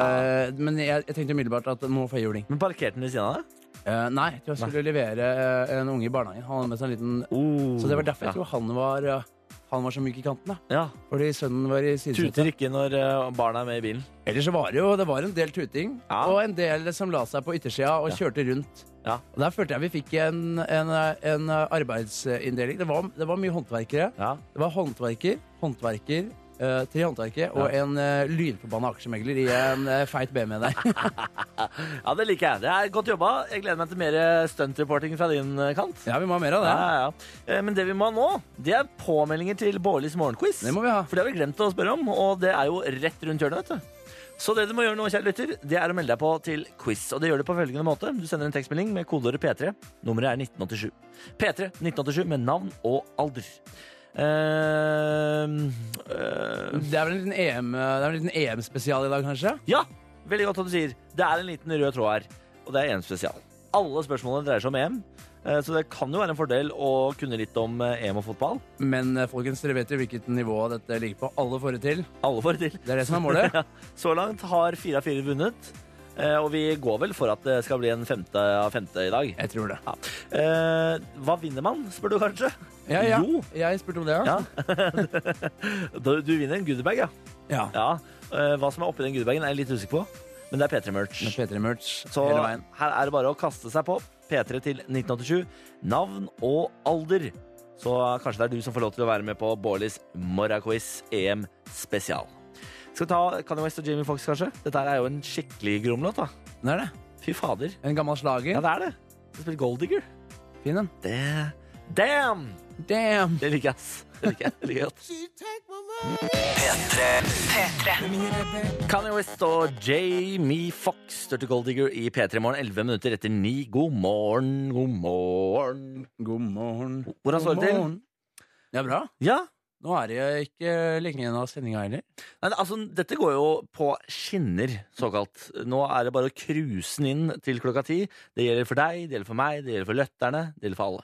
G: Men jeg, jeg tenkte umiddelbart at nå får jeg juling.
B: Men parkerte den ved siden av deg?
G: Eh, nei, jeg tror jeg skulle levere eh, en unge i barnehagen. Han hadde med seg en liten
B: Oh.
G: Så det var derfor jeg
B: ja.
G: tror han var eh, Han var så myk i kanten, da.
B: Ja.
G: Fordi sønnen var i sidesetet.
B: Tuter ikke når eh, barna er med i bilen.
G: Ellers så var det jo Det var en del tuting,
B: Ja.
G: og en del som la seg på yttersida og kjørte rundt.
B: Ja.
G: Og Der følte jeg vi fikk en, en, en arbeidsinndeling. Det var, det var mye håndverkere.
B: Ja.
G: Det var håndverker, håndverker, eh, tre håndverkere og en uh, lynforbanna aksjemegler i en eh, feit BMW der.
B: ja, det liker jeg. Det er godt jobba. Jeg gleder meg til mer stuntreporting fra din eh, kant.
G: ja, vi må ha mer av
B: Ja,
G: det.
B: ja, ja. Eh, Men det vi må ha nå, det er påmeldinger til Bårlis morgenquiz.
G: Det må vi ha.
B: For det har vi glemt å spørre om, og det er jo rett rundt hjørnet, vet du. Så det du må gjøre nå, kjære lytter, det er å melde deg på til quiz. Og det gjør du på følgende måte. Du sender en tekstmelding med kodeordet P3. Nummeret er 1987. P3 1987 med navn og alder. Ehm, eh,
G: Det er vel en liten EM, det er vel en liten EM-spesial i dag, kanskje?
B: ja, veldig godt hva du sier. Det er en liten rød tråd her, og det er EM spesial. Alle spørsmålene dreier seg om EM, eh, så det kan jo være en fordel å kunne litt om eh, EM og fotball.
G: Men eh, folkens, dere vet jo hvilket nivå dette ligger på. Alle får det til.
B: Alle får det til.
G: Det er det som er målet.
B: Ja, så langt har fire av fire vunnet. eh, Og vi går vel for at det skal bli en femte av femte i dag.
G: Jeg tror det.
B: Ja. Eh, hva vinner man, spør du kanskje?
G: Ja, ja.
B: Jo.
G: Jeg spurte om det, ja.
B: Ja. Du, du vinner en goodiebag, ja.
G: ja.
B: ja. eh, Hva som er oppi den godiebagen, er jeg litt usikker på. Men det er
G: Med
B: P3-merch.
G: P3 Merch
B: Så
G: hele veien.
B: her er det bare å kaste seg på. P3 til 1987. Navn og alder. Så kanskje det er du som får lov til å være med på Bårlis morgenquiz EM spesial. Skal vi ta Kanye West og Jamie Foxx, kanskje? Dette her er jo en skikkelig gromlåt, da.
G: Det er det.
B: Fy fader.
G: En gammel
B: Ja,
G: slager.
B: det er det. Du spiller Goldigger.
G: Fin en.
B: Det Damn!
G: Damn!
B: Det liker jeg, ass. Det liker jeg det liker jeg godt. Kanye West og Jamie Foxx størte Goldigger i P3 Morgen 11 minutter etter 9. God morgen, god morgen.
G: God morgen.
B: Hvordan står det til?
G: Det er bra.
B: Ja.
G: Nå er det jo ikke lenge igjen av sendinga heller.
B: Nei, altså, dette går jo på skinner, såkalt. Nå er det bare å cruise den inn til klokka ti. Det gjelder for deg, det gjelder for meg, det gjelder for lytterne, det gjelder for alle.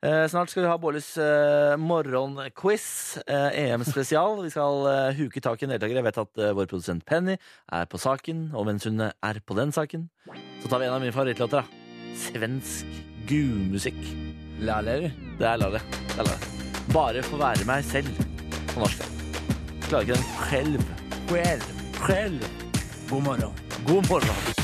B: Eh, snart skal vi ha Bårlis eh, morgenquiz, eh, EM-spesial. Vi skal eh, huke tak i en deltaker. Jeg vet at eh, vår produsent Penny er på saken, og mens hun eh, er på den saken, så tar vi en av mine favorittlåter, da. Svensk gulmusikk.
G: Lærer.
B: Det er Laleh. Det er Laleh. Bare få være meg selv på norsk. Klarer ikke den selv.
G: Well,
B: Selv.
G: god morgen.
B: God morgen.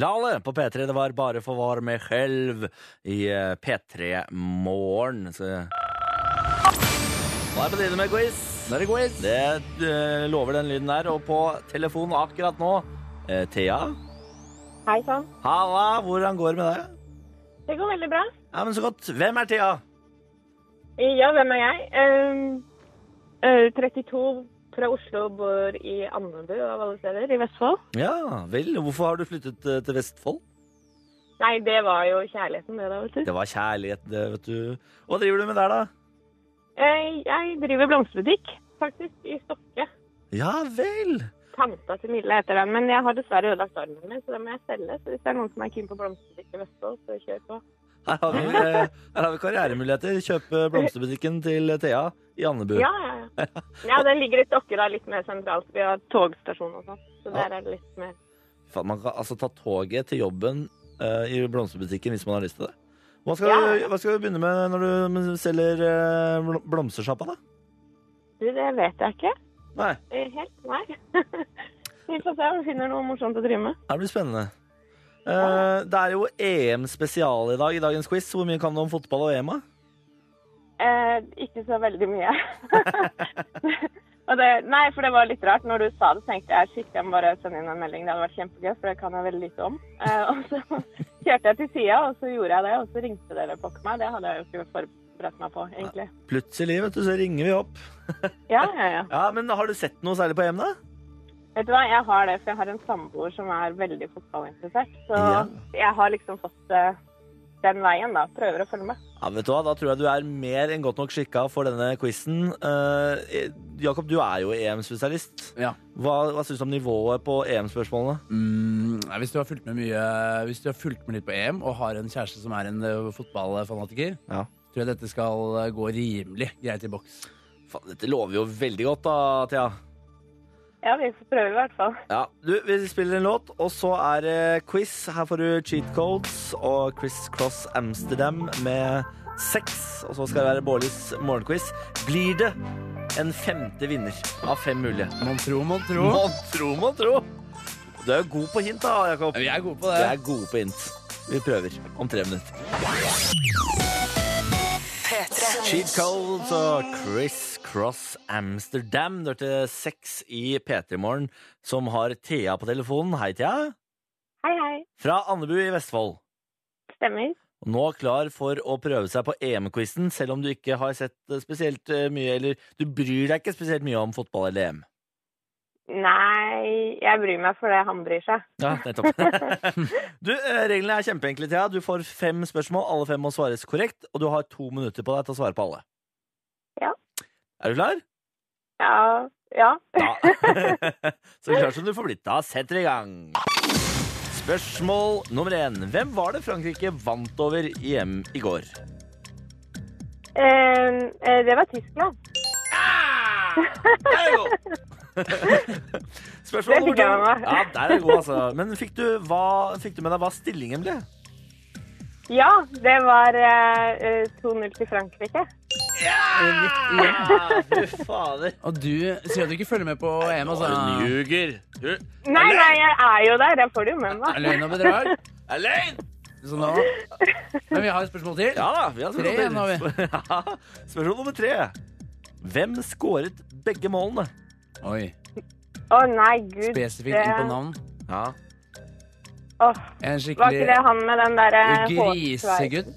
B: Lale på P3, det var bare for å være meg selv i eh, P3 Morgen. Så... Nå er det på tide med quiz.
G: Da er det quiz.
B: Det eh, lover den lyden der. Og på telefon akkurat nå, eh, Thea.
J: Hei sann.
B: Halla, hvordan går det med deg?
J: Det går veldig bra.
B: Ja, men så godt. Hvem er Thea?
J: Ja, hvem er jeg? Ehm, eh, 32 fra Oslo, bor i Andebu av alle steder, i Vestfold.
B: Ja vel, hvorfor har du flyttet eh, til Vestfold?
J: Nei, det var jo kjærligheten, det da, vet du.
B: Det var kjærlighet, det, vet du. Hva driver du med der, da?
J: Eh, Jeg driver blomsterbutikk, faktisk, i Stokke.
B: Ja vel.
J: Tanta til Mille heter den, men jeg har dessverre ødelagt armen min, så den må jeg selge. Så hvis det er noen som er keen på blomsterbutikk i Vestfold, så kjør på.
B: Her har vi, eh, her har vi karrieremuligheter. Kjøpe blomsterbutikken til eh, Thea i Andebu.
J: Ja, ja, ja. ja den ligger i Stokke, da, litt mer sentralt. Vi har togstasjon og sånn, så
B: Ja.
J: der er det litt mer
B: Faen, Man kan altså ta toget til jobben eh, i blomsterbutikken hvis man har lyst til det. Hva skal,
J: Ja,
B: du,
J: ja.
B: hva skal du begynne med når du selger eh, bl- blomstersjappa, da?
J: Du, det vet jeg ikke.
B: Nei,
J: Eh, Helt, nei. Vi får se om vi finner noe morsomt å drive med.
B: det blir spennende. Eh, det er jo EM spesial i dag i dagens quiz. Hvor mye kan du om fotball og EM? da?
J: Eh, ikke så veldig mye. Og det, nei, for det var litt rart. Når du sa det, tenkte jeg shit, jeg må bare sende inn en melding. Det hadde vært kjempegøy, for det kan jeg veldig lite om. Eh, og så kjørte jeg til sida, og så gjorde jeg det. Og så ringte dere pokker meg. Det hadde jeg jo ikke forberedt meg på, egentlig.
B: Plutselig, vet du, så ringer vi opp.
J: Ja, ja, ja.
B: Ja, men Har du sett noe særlig på EM, E da?
J: Vet du hva, jeg har det, for jeg har en samboer som er veldig fotballinteressert. Så
B: Ja.
J: jeg har liksom fått eh, den veien, da. Prøver å følge med.
B: Ja, vet du hva, Da tror jeg du er mer enn godt nok skikka for denne quizen. Eh, Jakob, du er jo EM-spesialist.
A: Ja.
B: Hva, hva syns du om nivået på EM-spørsmålene?
A: Mm, nei, hvis, du har fulgt med mye, hvis du har fulgt med litt på EM og har en kjæreste som er en eh, fotballfanatiker,
B: Ja.
A: tror jeg dette skal eh, gå rimelig greit i boks.
B: Faen, dette lover jo veldig godt, da, Thea.
J: Ja, vi får prøve i hvert fall.
B: Ja, du, Vi spiller en låt, og så er det quiz. Her får du cheat codes og Chris Cross Amsterdam med seks. Og så skal det være Bårlis morgenquiz. Blir det en femte vinner av fem mulige?
A: Mon tro, mon tro.
B: Mon tro, mon tro. Du er jo god på hint, da, Jakob.
A: Vi er gode på
B: Vi
A: det.
B: er gode på hint. Vi prøver om tre minutter. Cheat Codes og Chris Cross Amsterdam. Du hørte seks i P3 Morgen, som har Thea på telefonen. Hei, Thea.
J: Hei, hei.
B: Fra Andebu i Vestfold.
J: Stemmer.
B: Nå klar for å prøve seg på EM-quizen, selv om du ikke har sett eh, spesielt eh, mye, eller du bryr deg ikke spesielt mye om fotball eller EM.
J: Nei, jeg bryr meg for det han bryr seg.
B: Ja, nettopp. du, eh, reglene er kjempeenkle, Thea. Du får fem spørsmål. Alle fem må svares korrekt, og du har to minutter på deg til å svare på alle.
J: Ja.
B: Er du klar?
J: Ja. ja.
B: Ja. Så klar som du får blitt. Da setter vi i gang. Spørsmål nummer én. Hvem var det Frankrike vant over i EM i går?
J: Eh, eh, det var Tyskland.
B: Der er du god! Spørsmål
J: Det fikk jeg
B: nummer to.
J: med meg.
B: Ja, der er du god, altså. Men fikk du, hva, fikk du med deg hva stillingen ble?
J: Ja, det var eh, eh, 2-0 til Frankrike.
B: Ja, fy fader.
A: Og du sier at du ikke følger med på EM, altså.
B: Du ljuger. Du
J: Nei, nei, jeg er jo der. Jeg får det jo med
A: Er
J: meg.
A: Løgn og bedrag.
B: er løgn!
A: Så nå. Men vi har et spørsmål til.
B: Ja da, vi har
A: Tre igjen
B: spørsmål,
A: har
B: nummer- Ja, spørsmål nummer tre. Hvem skåret begge målene?
A: Oi.
J: Å nei, gud.
A: Spesifikt
J: det-
A: inn på navn.
B: Ja.
A: En
J: Åh, var ikke
A: skikkelig
J: det han med den eh, derre
A: grisegutt.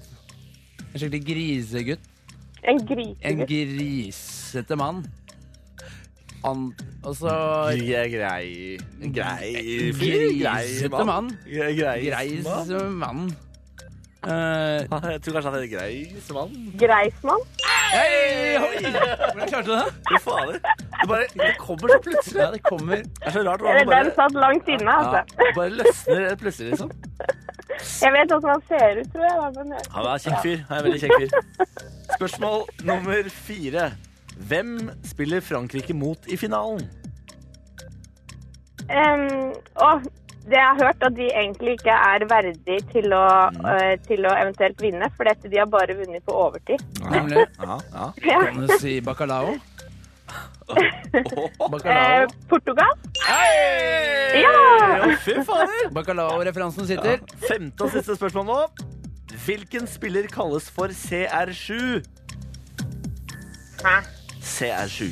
A: En skikkelig grisegutt. En
J: En grisegutt.
A: grisete mann. An... Og så
B: Grei, grei, grei,
A: Grisete mann.
B: Grei,
A: greis
B: mann.
A: mann. Eh,
B: Ja, Jeg tror kanskje han heter Greis mann.
J: Greismann?
A: hei, hoi! Hvordan klarte du det?
B: Fy fader. Det, bare, det kommer så plutselig.
A: Ja, det kommer.
B: Det er så rart hvordan
J: Eller
B: det bare,
J: Den satt langt inne,
B: ja,
J: altså.
B: det bare løsner plutselig, liksom.
J: Jeg vet hvordan han ser ut, tror jeg. da, Men jeg-
B: Han er kjekk fyr. Han er veldig kjekk fyr. Spørsmål nummer fire. Hvem spiller Frankrike mot i finalen?
J: Em, åh, det jeg har hørt, at de egentlig ikke er verdig til å,
B: Mm.
J: eh, til å eventuelt vinne, for dette, de har bare vunnet på overtid.
A: Nemlig.
B: Ja, ja.
J: Ja.
A: Kan du si bacalao?
J: Eh,
A: Bacalao.
J: Portugal?
B: Hei!
J: Ja!
B: Ja, Fy fader!
A: Bacalao-referansen sitter.
B: Femte og siste spørsmål nå. Hvilken spiller kalles for CR7?
J: Hæ?
B: CR7.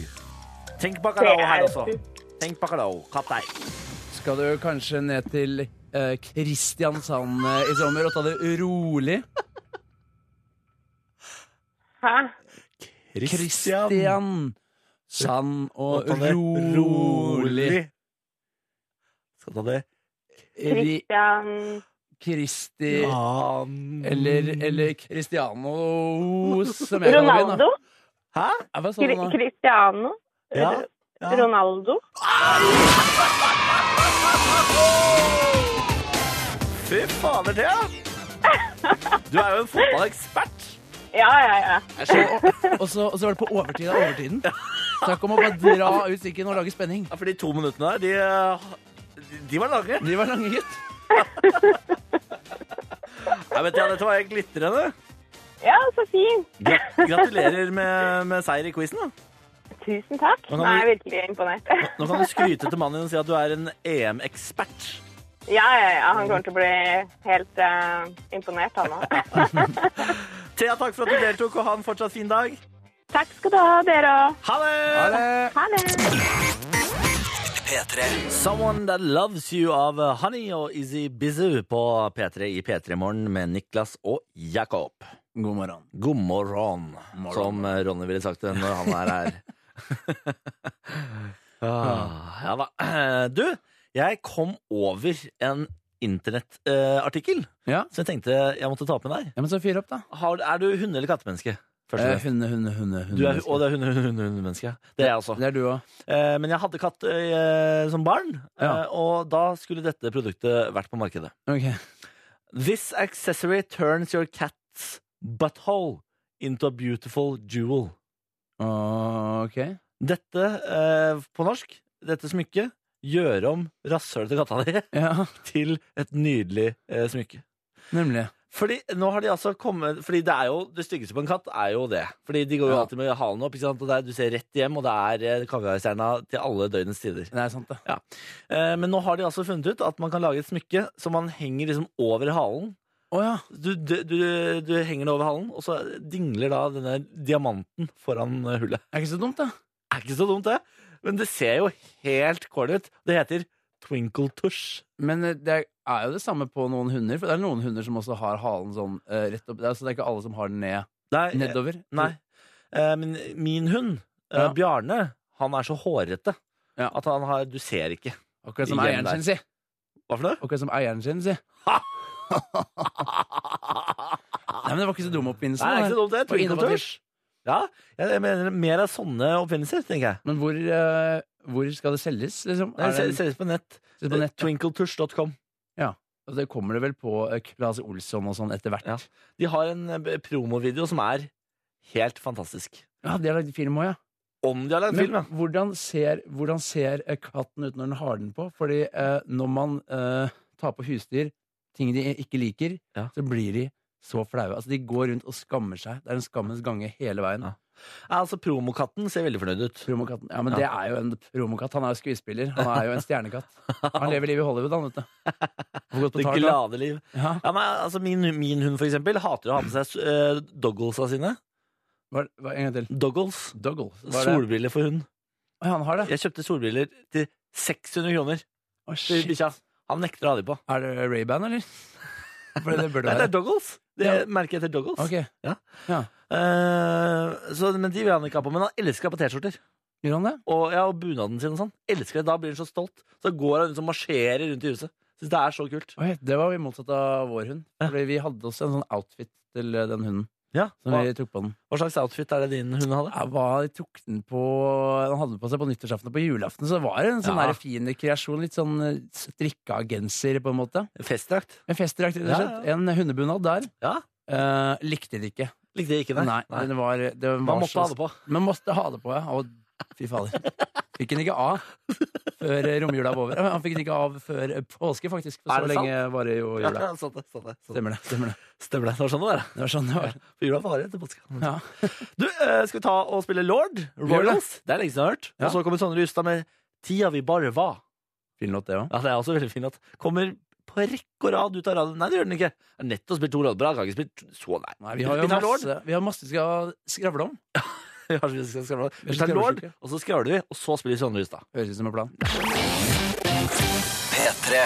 B: Tenk bacalao her også.
J: CR7.
B: Tenk bacalao. Kapp deg.
A: Skal du kanskje ned til eh, Kristiansand eh, i sommer og ta det rolig?
J: Hæ?
A: Kristian Sand og
B: Ta det
A: rolig.
B: Skal ta det
A: Ri-
J: Christian
A: Kristi
B: Jan
A: eller, eller Cristiano, som jeg kaller ham.
J: Ronaldo?
B: Hæ?
A: Hva sa du
J: Kri-
A: nå?
J: Cristiano?
B: Ja.
J: Ronaldo?
B: Fy fader, Thea! Du er jo en fotballekspert.
J: Ja, ja, ja.
A: Og så og så var det på overtid av overtiden. Snakk om å bare dra ut strikken og lage spenning.
B: Ja, for de to minuttene her, de, eh, de var lange.
A: De var lange, gitt.
B: Nei, vet du, ja, dette var helt glitrende.
J: Ja, så fint.
B: Gra- Gratulerer med, med seier i quizen. da.
J: Tusen takk.
B: Men kan
J: Nå er jeg
B: vi-
J: virkelig imponert.
B: Nå kan du skryte til mannen din og si at du er en E EM-ekspert.
J: Ja, ja, ja. Han kommer til å bli helt eh, imponert, han òg.
B: Thea, takk for at du deltok, og ha en fortsatt fin dag.
J: Takk skal du ha, dere òg.
B: Ha det!
J: Ha det.
C: P3
B: Someone That Loves You av Honey og Izzy Bizzu på P3 i P3 Morgen med Niklas og Jakob.
A: God morgen.
B: God morgen, som Ronny ville sagt det når han er her. Ah, ja da. Eh, Du, jeg kom over en internettartikkel
A: Ja.
B: som jeg tenkte jeg måtte ta opp med deg.
A: Ja, men så fyr opp, da.
B: Har, er du hunde- eller kattemenneske? Først og
A: Eh,
B: fremst.
A: hunde, hunde, hunde. hunde
B: Du er, og det er hunde- hunde- hunde- hundemenneske. Det er jeg også.
A: Det er du òg.
B: Eh, Men jeg hadde katt eh, som barn, eh,
A: Ja.
B: og da skulle dette produktet vært på markedet.
A: Ok.
B: This accessory turns your cat's butthole into a beautiful jewel.
A: Ok.
B: Dette, eh, på norsk, dette smykket, gjør om rasshølet til katta di
A: Ja,
B: til et nydelig eh, smykke.
A: nemlig.
B: Fordi nå har de altså kommet Fordi det er jo, det styggeste på en katt er jo det. Fordi de går jo
A: Ja.
B: alltid med halen opp, ikke sant? og det er- du ser rett hjem, og det er eh, kaviarstjerna til alle døgnets tider.
A: Det er sant, det.
B: Eh, men nå har de altså funnet ut at man kan lage et smykke som man henger liksom over halen.
A: Å ja.
B: Du, du, du, du henger det over halen, og så dingler da denne diamanten foran eh, hullet.
A: Det er ikke så dumt, da.
B: Er ikke så dumt, det. Men det ser jo helt kål ut. Det heter Twinkle Tush.
A: Men eh, det er jo det samme på noen hunder. For det er noen hunder som også har halen sånn eh, rett opp. Det er, så det er ikke alle som har den ned,
B: Nei, eh,
A: nedover.
B: Nei. Eh, men min hund, eh,
A: Ja.
B: Bjarne, han er så hårete
A: Ja.
B: at han har Du ser ikke.
A: Akkurat som
B: Igjen
A: eieren
B: der.
A: sin, si.
B: Hva for noe?
A: Akkurat som eieren sin, si. Nei, men det var ikke så dum oppfinnelse.
B: Ah. Nei, det er ikke
A: da.
B: så dumt, det.
A: Og
B: Twinkle
A: innovativ.
B: Tush. Ja, jeg jeg mener mer av sånne oppfinnelser, tenker jeg.
A: Men hvor, eh, hvor skal det selges, liksom?
B: Nei,
A: Er det,
B: det selges på nett.
A: selges på nett?
B: Twinkletush.com.
A: Og det kommer det vel på eh, Claes Olsson og sånn etter hvert.
B: Ja. De har en eh, promovideo som er helt fantastisk.
A: Ja, de har lagd film òg, ja.
B: Om de har lagd
A: Men
B: film, ja.
A: hvordan ser, hvordan ser eh, katten ut når den har den på? Fordi eh, når man eh, tar på husdyr ting de ikke liker,
B: Ja.
A: så blir de så flaue. Altså, de går rundt og skammer seg. Det er en skammens gange hele veien.
B: Ja. Ja, Altså, Promokatten ser veldig fornøyd ut.
A: Promokatten. Ja, men
B: Ja.
A: det er jo en promokatt. Han er jo skuespiller. Han er jo en stjernekatt. Han lever livet i Hollywood, han, vet du. Får gått på
B: Det
A: tak, da.
B: glade liv.
A: Ja.
B: Ja, nei, altså min, min hund, for eksempel, hater å ha på seg uh, dogglesa sine.
A: Hva, hva, en gang til.
B: Doggles.
A: Doggle. Hva er det?
B: Solbriller for hund.
A: Oi, han har det.
B: Jeg kjøpte solbriller til 600 kroner
A: Å,
B: til
A: shit.
B: bikkja. Han nekter å ha de på.
A: Er det Ray-Ban, eller? For det burde
B: Nei, det
A: være.
B: er Doggles. Det
A: Ja.
B: merket heter Doggles.
A: Ok.
B: Eh, så, men de vil han ikke ha på. Men han elsker å ha på T-skjorter.
A: Gjør han det?
B: Og, ja, og bunaden sin og sånn. Elsker det. Da blir han så stolt. Så går han rundt og marsjerer rundt i huset. Syns det er så kult.
A: Oi, det var jo motsatt av vår hund. Fordi vi hadde også en sånn outfit til eh, den hunden.
B: Ja,
A: Som
B: hva,
A: vi tok på den.
B: hva slags outfit er det din hund hadde?
A: Ja, hva, jeg tok den på Han hadde den på seg på nyttårsaften og på julaften, så det var en sånn
B: Ja.
A: der fin kreasjon. Litt sånn eh, strikka genser, på en måte.
B: Festdrakt.
A: En festdrakt, rett og slett.
B: Ja, ja.
A: En hundebunad der.
B: Ja.
A: Eh, likte det ikke.
B: Likte jeg ikke,
A: Nei,
B: nei.
A: Den var, den var
B: Man måtte
A: så-
B: ha det på.
A: Man måtte ha det på, ja. Og fy fader. Fikk den ikke av før eh, romjula var over. Ja, Han fikk den ikke av før eh, påske, faktisk.
B: Er
A: For så
B: det sant?
A: lenge varer jo
B: Ja,
A: jula.
B: sånn det, sånn det, sånn det.
A: Stemmer det. stemmer Det
B: Stemmer det. Det var sånn det var. ja.
A: Det var sånn det var.
B: For jula varer etter påske.
A: Ja.
B: Du, eh, skal vi ta og spille Lord?
A: gjør det.
B: Royals? Det er lenge siden jeg har hørt.
A: Ja.
B: Og så kommer Sondre Justad med Tida vi bare var.
A: Fin låt, det òg.
B: Ja, det er også veldig fin at Kommer på rekke og rad ut av radioen. Nei, det gjør den ikke. Jeg har nettopp spilt to rader på rad. Kan ikke spilt så nei.
A: Nei, vi har jo
B: vi tar Lord.
A: masse vi har masse vi skal skravle om.
B: Vi har så mye vi skal skravle om.
A: Vi
B: Vi tar
A: skravler
B: Lord,
A: ikke.
B: og så skravler vi, og så spiller vi Sondre Justad.
A: Høres ut som en plan.
C: P3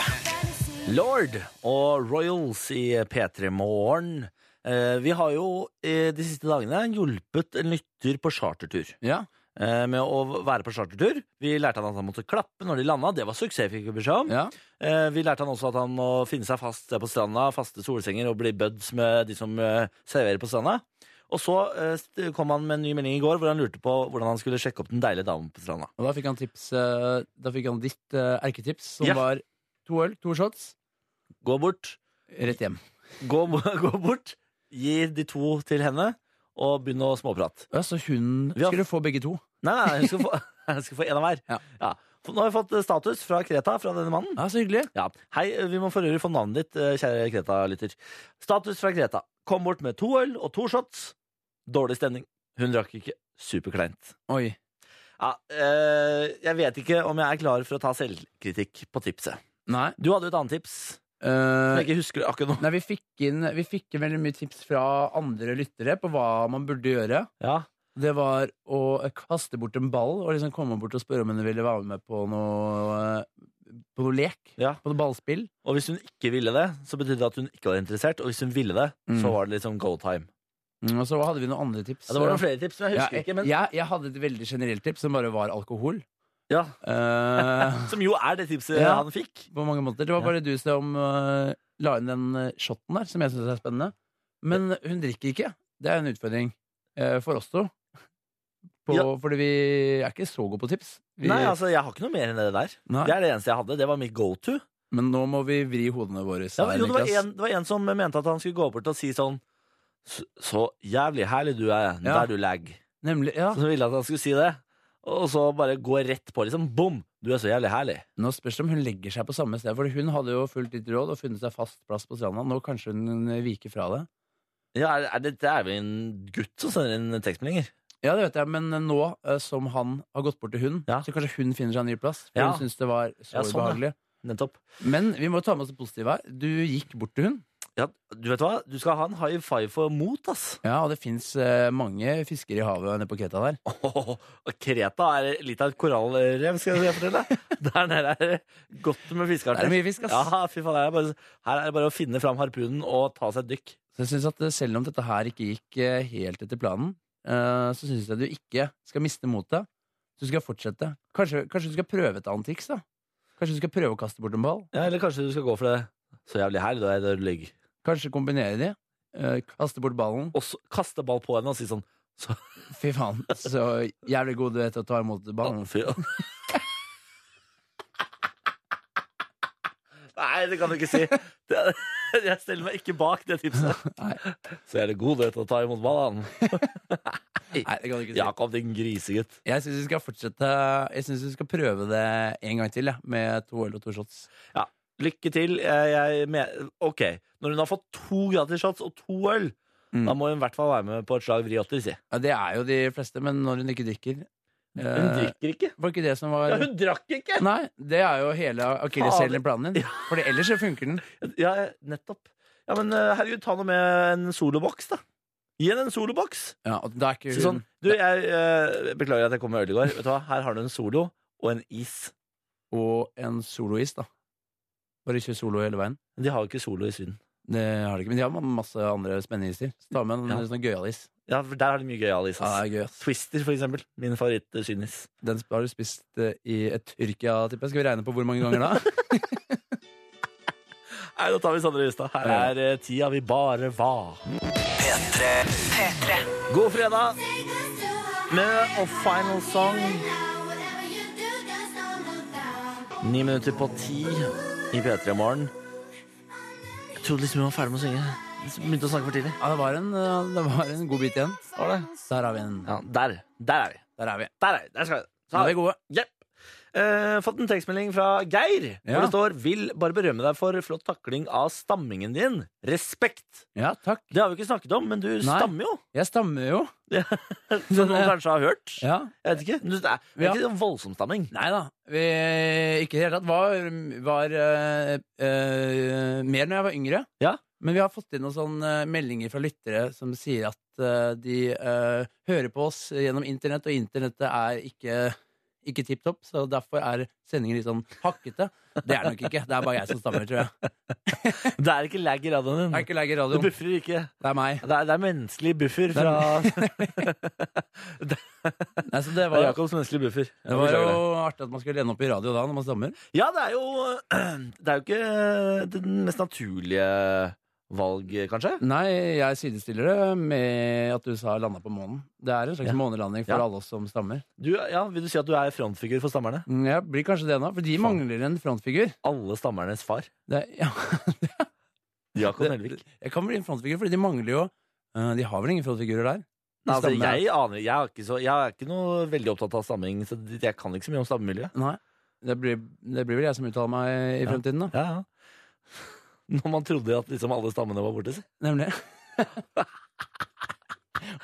B: Lord og Royals i P3 Morgen. Eh, vi har jo eh, de siste dagene hjulpet en lytter på chartertur.
A: Ja.
B: eh, med å være på chartertur. Vi lærte han at han måtte klappe når de landa. Det var suksess, fikk vi beskjed om.
A: ja.
B: Eh, Vi lærte han også at han må finne seg fast på stranda, faste solsenger og bli buds med de som eh, serverer på stranda. Og så eh, st- kom han med en ny melding i går hvor han lurte på hvordan han skulle sjekke opp den deilige damen på stranda.
A: Og da fikk han tips eh, Da fikk han ditt eh, erketips, som
B: Ja.
A: var to øl, to shots,
B: Gå bort,
A: rett hjem.
B: gå, bo- gå bort, gi de to til henne og begynn å småprate.
A: Ja, så hun
B: Vi har-
A: skulle få begge to.
B: Nei, nei, hun skal få, hun skal få en av hver.
A: Ja.
B: For Nå har vi fått eh, status fra Kreta, fra denne mannen.
A: Ja, Så hyggelig.
B: Ja. Hei, eh, vi må for øvrig få navnet ditt, eh, kjære Kreta-lytter. Status fra Kreta. Kom bort med to øl og to shots. Dårlig stemning. Hun drakk ikke. Superkleint.
A: Oi.
B: Ja, eh, jeg vet ikke om jeg er klar for å ta selvkritikk på tipset.
A: Nei.
B: Du hadde jo et annet tips. Som
A: eh,
B: jeg ikke husker akkurat nå.
A: nei, vi fikk inn Vi fikk inn veldig mye tips fra andre lyttere på hva man burde gjøre.
B: Ja.
A: Det var å kaste bort en ball og liksom komme bort og spørre om hun ville være med på noe eh, På noe lek.
B: Ja.
A: På noe ballspill.
B: Og hvis hun ikke ville det, så betydde det at hun ikke var interessert. Og hvis hun ville det,
A: Mm.
B: så var det liksom go time.
A: Mm, og så hadde vi noen andre tips.
B: Ja, det var noen flere tips, men jeg
A: Ja,
B: husker ikke. Men
A: jeg, jeg hadde et veldig generelt tips som bare var alkohol.
B: Ja,
A: Eh,
B: Som jo er det tipset
A: Ja.
B: han fikk.
A: på mange måter. Det var bare du som eh, la inn den eh, shotten der, som jeg syns er spennende. Men hun drikker ikke. Det er en utfordring eh, for oss to. På,
B: Ja.
A: Fordi vi er ikke så gode på tips. Vi,
B: Nei, altså, jeg har ikke noe mer enn det der.
A: Nei.
B: Det er det eneste jeg hadde. Det var mitt go to.
A: Men nå må vi vri hodene våre.
B: Ja,
A: her,
B: jo, det, var
A: Niklas.
B: en, det var en som mente at han skulle gå bort og si sånn Så, så jævlig herlig du er.
A: Ja.
B: Der du lag.
A: Nemlig, ja.
B: Så ville jeg at han skulle si det. Og så bare gå rett på, liksom. Bom! Du er så jævlig herlig.
A: Nå spørs det om hun legger seg på samme sted, for hun hadde jo fulgt ditt råd og funnet seg fast plass på stranda. Nå kanskje hun eh, viker fra det.
B: Ja, er, er det, det er vel en gutt som sender inn tekstmeldinger.
A: Ja, det vet jeg, men nå eh, som han har gått bort til hun,
B: Ja.
A: så kanskje hun finner seg en ny plass. For
B: Ja.
A: hun syntes det var så
B: Ja, sånn, ja.
A: ubehagelig.
B: Nettopp.
A: Men vi må ta med oss det positive her. Du gikk bort til hun.
B: Ja, du vet hva? Du skal ha en high five for mot, ass.
A: Ja, og det fins eh, mange fiskere i havet nede på Kreta der.
B: Åh, Kreta er litt av et korallrev, skal jeg fortelle deg. Der nede er det godt med
A: Det
B: fiskearter.
A: er mye fisk, ass.
B: Ja, fy faen, her er, det bare, her er det bare å finne fram harpunen og ta seg et dykk.
A: Så jeg synes at eh, selv om dette her ikke gikk eh, helt etter planen, eh, så syns jeg du ikke skal miste motet. Du skal fortsette. Kanskje, kanskje du skal prøve et annet triks, da. Kanskje du skal prøve å kaste bort en ball.
B: Ja, eller kanskje du skal gå for det så jævlig herlig du er der du ligger.
A: Kanskje kombinere de. eh, kaste bort ballen.
B: Og så kaste ball på henne og si sånn
A: Fy faen, så jævlig god du er til å ta imot ballen.
B: «Å, fy». Nei, det kan du ikke si. Det, jeg stiller meg ikke bak det tipset.
A: Nei.
B: Så er det god du er til å ta imot ballen.
A: Nei, det kan du ikke si.
B: Jakob, din grisegutt.
A: Jeg syns vi skal fortsette Jeg synes vi skal prøve det en gang til, jeg, med to øl og to shots.
B: Lykke til. Jeg, jeg men- ok, når hun har fått to gratis shots og to øl,
A: Mm.
B: da må hun i hvert fall være med på et slag vri åtter, si.
A: Ja, det er jo de fleste, men når hun ikke drikker eh,
B: Hun drikker ikke.
A: Var ikke det som var
B: Ja, hun drakk ikke!
A: Nei, det er jo hele akilleshælen i
B: Fader.
A: planen din. For ellers så funker den.
B: Ja, nettopp. Ja, men eh, herregud, ta noe med en soloboks, da. Gi henne en soloboks.
A: Ja, og da er ikke
B: Si
A: hun
B: sånn, du, jeg eh, beklager at jeg kom med øl i går. Vet du hva, her har du en solo og en is.
A: Og en soloist, da. Bare kjør solo hele veien.
B: De har jo ikke solo i Syden.
A: Det har de ikke, Men de har masse andre spennende iser. Så ta med en
B: Ja.
A: sånn gøyalis.
B: Ja, for der har de mye gøyal
A: Ja,
B: is.
A: det
B: ass.
A: er gøy, ass.
B: Twister, for eksempel. Min favoritt eh, synis.
A: Den har du spist eh, i et Tyrkia, tipper jeg. Skal vi regne på hvor mange ganger da?
B: Nei, nå tar vi Sondre Justad. Her
A: Ja.
B: er eh, tida vi bare var. God fredag med A Final Song. Ni minutter på ti i P3 Morgen. Jeg trodde liksom vi var ferdig med å synge. Så Begynte å snakke for tidlig.
A: Ja, det var en, eh, det var en god bit igjen. Der har vi den.
B: Ja, der. Der er vi.
A: Der er vi.
B: Der er vi. Der skal vi.
A: Nå er vi gode.
B: Jepp. Eh, fått en tekstmelding fra Geir,
A: Ja.
B: hvor det står 'Vil bare berømme deg for flott takling av stammingen din'. Respekt!
A: Ja, takk.
B: Det har vi ikke snakket om, men du
A: Nei.
B: stammer jo.
A: Jeg stammer jo.
B: Som noen kanskje har hørt.
A: Ja.
B: Jeg vet ikke. Du, det er, det er ikke sånn voldsom stamming.
A: Nei da. Vi, ikke i det hele tatt. Var, var eh, eh, mer når jeg var yngre.
B: Ja.
A: Men vi har fått inn noen sånne eh, meldinger fra lyttere som sier at eh, de eh, hører på oss gjennom internett, og internettet er ikke, ikke tipp topp, så derfor er sendingen litt sånn hakkete. Det er det nok ikke. Det er bare jeg som stammer, tror jeg.
B: Det er ikke lag i radioen
A: Det
B: din.
A: er ikke lag i
B: Det
A: radioen.
B: buffer ikke.
A: Det er meg.
B: Det er, det er menneskelig buffer
A: er-
B: fra
A: Nei, så det
B: fra
A: var,
B: Jakobs menneskelige buffer.
A: det var jo artig at man skulle lene opp i radio da, når man stammer.
B: Ja, det er jo Det er jo ikke eh, det mest naturlige valg, kanskje.
A: Nei, jeg sidestiller det med at USA landa på månen. Det er en slags
B: Ja.
A: månelanding for
B: Ja.
A: alle oss som stammer.
B: Du, ja, vil du si at du er frontfigur for stammerne?
A: Mm, Ja, blir kanskje det nå, for de
B: Faen.
A: mangler en frontfigur.
B: Alle stammernes far.
A: Det, er- ja,
B: Jakob
A: Det-
B: Nelvik.
A: jeg kan bli en frontfigur, fordi de mangler jo eh, De har vel ingen frontfigurer der?
B: Nei, altså,
A: Stammer-
B: jeg aner Jeg er ikke, så, jeg er ikke noe veldig opptatt av stamming, så jeg kan ikke så mye om stammemiljøet.
A: Nei. Det blir, det blir vel jeg som uttaler meg i
B: Ja.
A: fremtiden, da.
B: Ja, ja. Når man trodde at liksom alle stammene var borte. si.
A: Nemlig.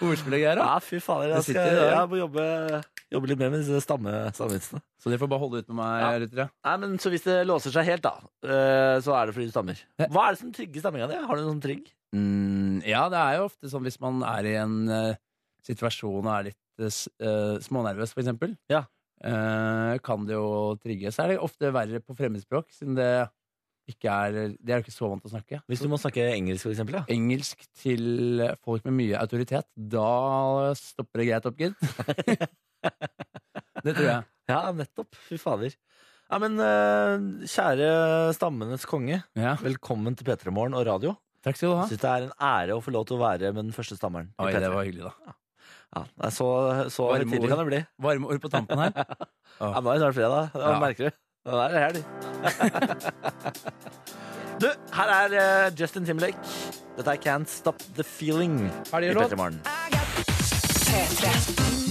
A: Ordspillegreier, da.
B: Ja, fy fader.
A: Det
B: Jeg,
A: sitter
B: skal,
A: der.
B: jeg må jobbe, jobbe litt mer med disse stamme, stammevitsene.
A: Så dere får bare holde ut med meg,
B: Ja.
A: lyttere.
B: Nei, men Så hvis det låser seg helt, da, eh, så er det fordi du stammer. Hva er det som trigger stamminga di? Har du noen trigg?
A: Mm, ja, det er jo ofte sånn hvis man er i en eh, situasjon og er litt eh, s- eh, smånervøs, for eksempel.
B: Ja.
A: eh, kan det jo trigge. Så er det ofte verre på fremmedspråk, siden det ikke er De er jo ikke så vant til å snakke.
B: Hvis du må snakke engelsk, for eksempel. Ja.
A: Engelsk til folk med mye autoritet, da stopper det greit opp, gitt. det tror jeg.
B: Ja, nettopp. Fy fader. Ja, men eh, kjære stammenes konge,
A: Ja,
B: velkommen til P3 Morgen og radio.
A: Takk skal du ha.
B: Jeg syns det er en ære å få lov til å være med den første stammeren. i
A: Oi,
B: P3.
A: det var hyggelig, da.
B: ja, nei, så så
A: Varme
B: høytidelig kan det bli.
A: Varme ord på tampen her.
B: Ja, nå er det snart fredag. Det
A: Ja.
B: merker du. Nå er det helg. du, her er eh, Justin Timberlake. Dette er Can't Stop The Feeling. Ferdig låt.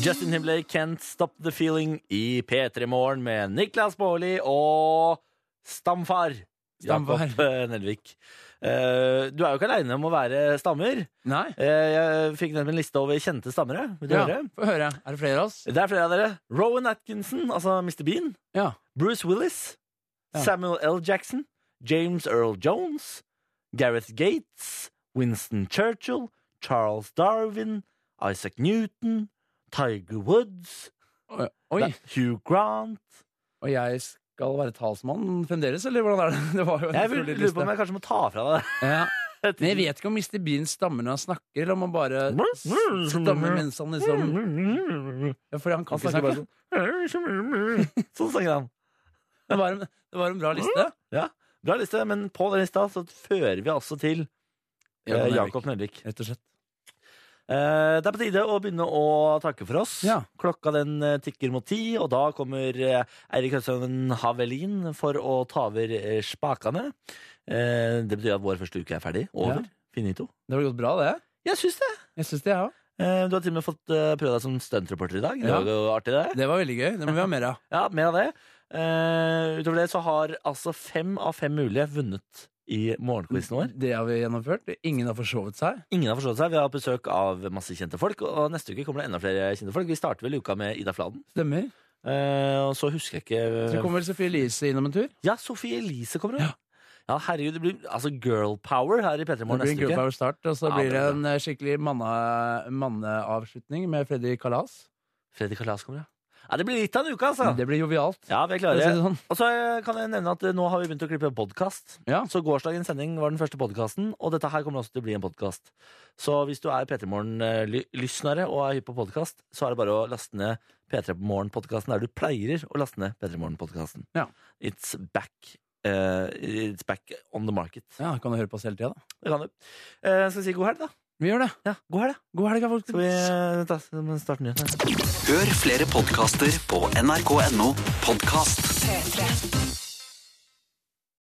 B: Justin Timberlake, Can't Stop The Feeling i P3 Morgen med Niklas Baarli og stamfar.
A: Stamfar.
B: Jakob eh, Nelvik. Eh, du er jo ikke aleine om å være stammer.
A: Nei?
B: Eh, jeg fikk nemlig en liste over kjente stammere. Vil du
A: Ja,
B: høre?
A: Få høre. Er det flere av oss?
B: Det er flere av dere. Rowan Atkinson, altså Mr. Bean.
A: Ja.
B: Bruce Willis.
A: Ja.
B: Samuel L. Jackson. James Earl Jones. Gareth Gates. Winston Churchill. Charles Darwin. Isaac Newton. Tiger Woods.
A: Oi. Oi.
B: Det er Hugh Grant.
A: Og jeg skal være talsmann fremdeles, eller hvordan er det? Det var jo en
B: Jeg vil-
A: utrolig
B: lurer på
A: liste.
B: om jeg kanskje må ta fra deg
A: Ja.
B: det.
A: Men jeg vet ikke om Mr. Bean stammer når han snakker, eller om han bare stammer mens han liksom ja, Fordi han
B: Mm. Han
A: kan ikke
B: snakker bare
A: snakke.
B: sånn. Sånn snakker han.
A: Det var, en, det var en bra liste.
B: Bra liste, men på den lista så fører vi altså til eh, Jakob Nelvik.
A: Rett og slett.
B: Eh, Det er på tide å begynne å takke for oss.
A: Ja.
B: Klokka den eh, tikker mot ti, og da kommer eh, Eirik Høsøen Havelin for å ta over eh, spakene. Eh, Det betyr at vår første uke er ferdig. Over.
A: Ja.
B: Finito.
A: Det har gått bra, det.
B: Jeg syns det.
A: Jeg syns det, jeg òg.
B: Eh, Du har til og med fått eh, prøve deg som stuntreporter i dag. Det
A: Ja.
B: var jo artig, det.
A: Det var veldig gøy. Det må vi ha mer av.
B: Ja, mer av det. Eh, Utover det så har altså fem av fem mulige vunnet i morgenquizen vår.
A: Det har vi gjennomført. Ingen har forsovet seg.
B: Ingen har forstått seg. Vi har hatt besøk av masse kjente folk, og neste uke kommer det enda flere kjente folk. Vi starter vel uka med Ida Fladen.
A: Stemmer.
B: Eh, og så husker jeg
A: Så
B: ikke
A: kommer vel Sophie Elise innom en tur.
B: Ja, Sofie Elise kommer hun. Ja. herregud, det blir altså girl power her i P3
A: Det blir
B: Morgen
A: en
B: neste
A: Girl
B: uke.
A: Power Start, og så
B: Ja,
A: blir
B: det
A: det
B: blir
A: en eh, skikkelig manne- manneavslutning med Freddy Kalas.
B: Freddy Kalas kommer, ja. ja. Det blir litt av en uke, altså.
A: Det blir jovialt.
B: Ja, vi
A: for å
B: er
A: si
B: klare.
A: det sånn.
B: Og så eh, kan jeg nevne at eh, nå har vi begynt å klippe podkast.
A: Ja.
B: Så gårsdagens sending var den første podkasten, og dette her kommer også til å bli en podkast. Så hvis du er P3 Morgen-lyssnere og er hypp på podkast, så er det bare å laste ned P3 Morgen-podkasten der du pleier å laste ned P3 Morgen-podkasten.
A: Ja.
B: It's back. eh, it's back on the market.
A: Ja, kan du høre på oss hele tida, da.
B: Det kan du. Eh, skal vi si god helg, da?
A: Vi gjør det.
B: Ja, god helg, da.
A: God helg, da,
B: Skal
A: folkens.
B: vi eh, ta, starte nyhetene?
C: Hør flere podkaster på nrk.no podkast.